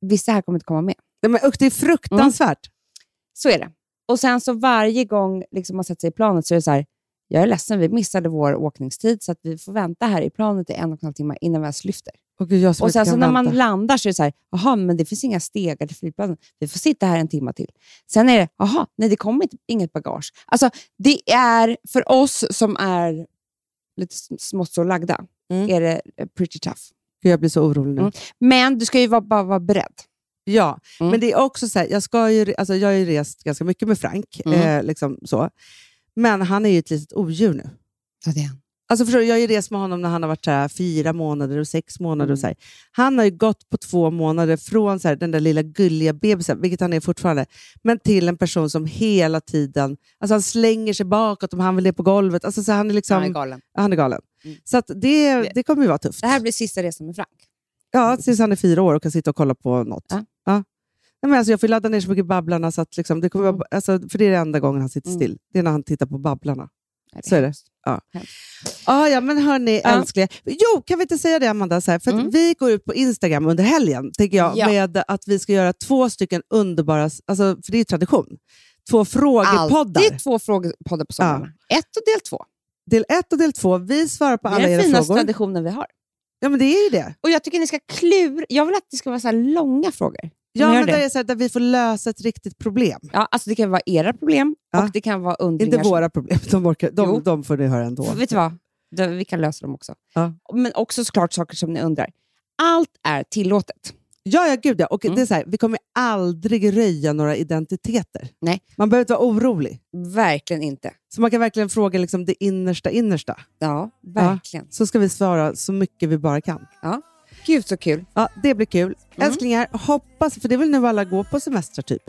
vissa här kommer inte komma med.
Nej, men, usch, det är fruktansvärt.
Så är det. Och sen så varje gång liksom man sätter sig i planet så är det så här, jag är ledsen, vi missade vår åkningstid så att vi får vänta här i planet i en och en halv timme innan vi ens lyfter.
Och gud, jag som
Och
inte
sen så
kan
när man
vänta.
landar så är det så här, jaha, men det finns inga stegar till flygplatsen. Vi får sitta här en timme till. Sen är det, jaha, nej det kommer inte, inget bagage. Alltså det är för oss som är lite sm- smått så lagda,
Mm.
är det eh, pretty tough.
Gud, jag blir så orolig nu.
Mm. Men du ska ju vara, bara vara beredd.
Ja,
Mm.
men det är också så här, jag, ska ju, alltså jag har ju rest ganska mycket med Frank.
Mm.
Eh, liksom så. Men han är ju ett litet odjur nu.
Ja, det är han.
Alltså förstår du, jag har ju rest med honom när han har varit så här, fyra månader och sex månader.
Mm.
Och så här. Han har ju gått på två månader från så här, den där lilla gulliga bebisen, vilket han är fortfarande, men till en person som hela tiden alltså han slänger sig bakåt om han vill ner på golvet. Alltså, så här, han är liksom...
Han är galen.
Han är galen.
Mm.
Så att det, det kommer ju vara tufft.
Det här blir sista resan med Frank.
Ja, tills han är fyra år och kan sitta och kolla på något.
Ja.
Ja. Nej, men alltså, jag får ladda ner så mycket Babblarna, så att liksom, det kommer vara, alltså, för det är det enda gången han sitter
Mm.
still. Det är när han tittar på Babblarna.
Nej,
Så är det.
hemskt.
Ja. Ah, ja, men hörni
Ja.
älsklingar. Jo, kan vi inte säga det Amanda? Så här, för att
Mm.
Vi går ut på Instagram under helgen, tänker jag,
Ja.
med att vi ska göra två stycken underbara, alltså, för det är ju tradition, två frågepoddar.
Alltid två frågepoddar på somrarna. Ett och del två.
Del ett och del två. Vi svarar på
det
alla
är den
era
finaste
frågor.
traditionen vi har.
Ja, men det är ju det.
Och jag tycker ni ska klur... Jag vill att det ska vara så här långa frågor.
Ja,
gör
men
det.
där, är så här, där vi får lösa ett riktigt problem.
Ja, alltså det kan vara era problem
Ja.
och det kan vara undringar.
Inte våra problem, de, orkar,
Jo.
de, de får ni höra ändå.
Som, vet du vad? Det- Vi kan lösa dem också.
Ja.
Men också såklart saker som ni undrar. Allt är tillåtet.
Ja, ja, gud ja. Och
Mm.
det är så här, vi kommer aldrig röja några identiteter.
Nej.
Man behöver inte vara orolig.
Verkligen inte.
Så man kan verkligen fråga liksom det innersta innersta.
Ja, verkligen.
Så ska vi svara så mycket vi bara kan.
Gud så kul.
Ja, det blir kul. Älsklingar, hoppas, för det är väl nu alla går på semester typ.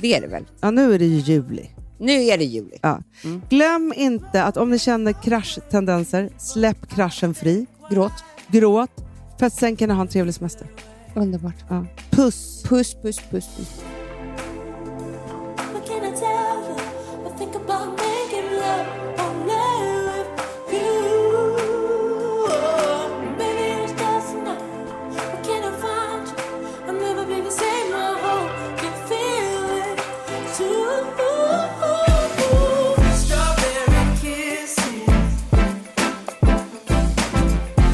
Det är det väl.
Ja, nu är det ju juli.
Nu är det juli.
Ja. Glöm inte att om ni känner kraschtendenser, släpp kraschen fri.
Gråt.
Gråt, för att sen kan ni ha en trevlig semester.
Underbart.
Ja. Puss!
Puss, puss, puss. puss.
What can I tell you? I think about making love only with you. Maybe it's just enough. Why can't I find you? I'll never be the same. I hope you feel it too. Strawberry kisses.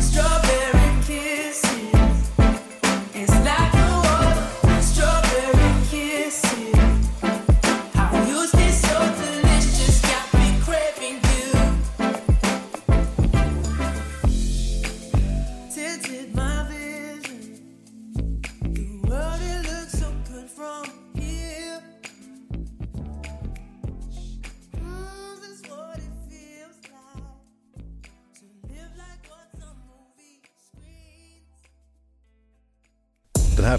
Strawberry kisses. It's like the water. Strawberry kisses. Who's this so delicious? Got me craving you. Tinted my vision. The world it looks so good from here. This is what it feels like to live like what's on movie screens.
Den här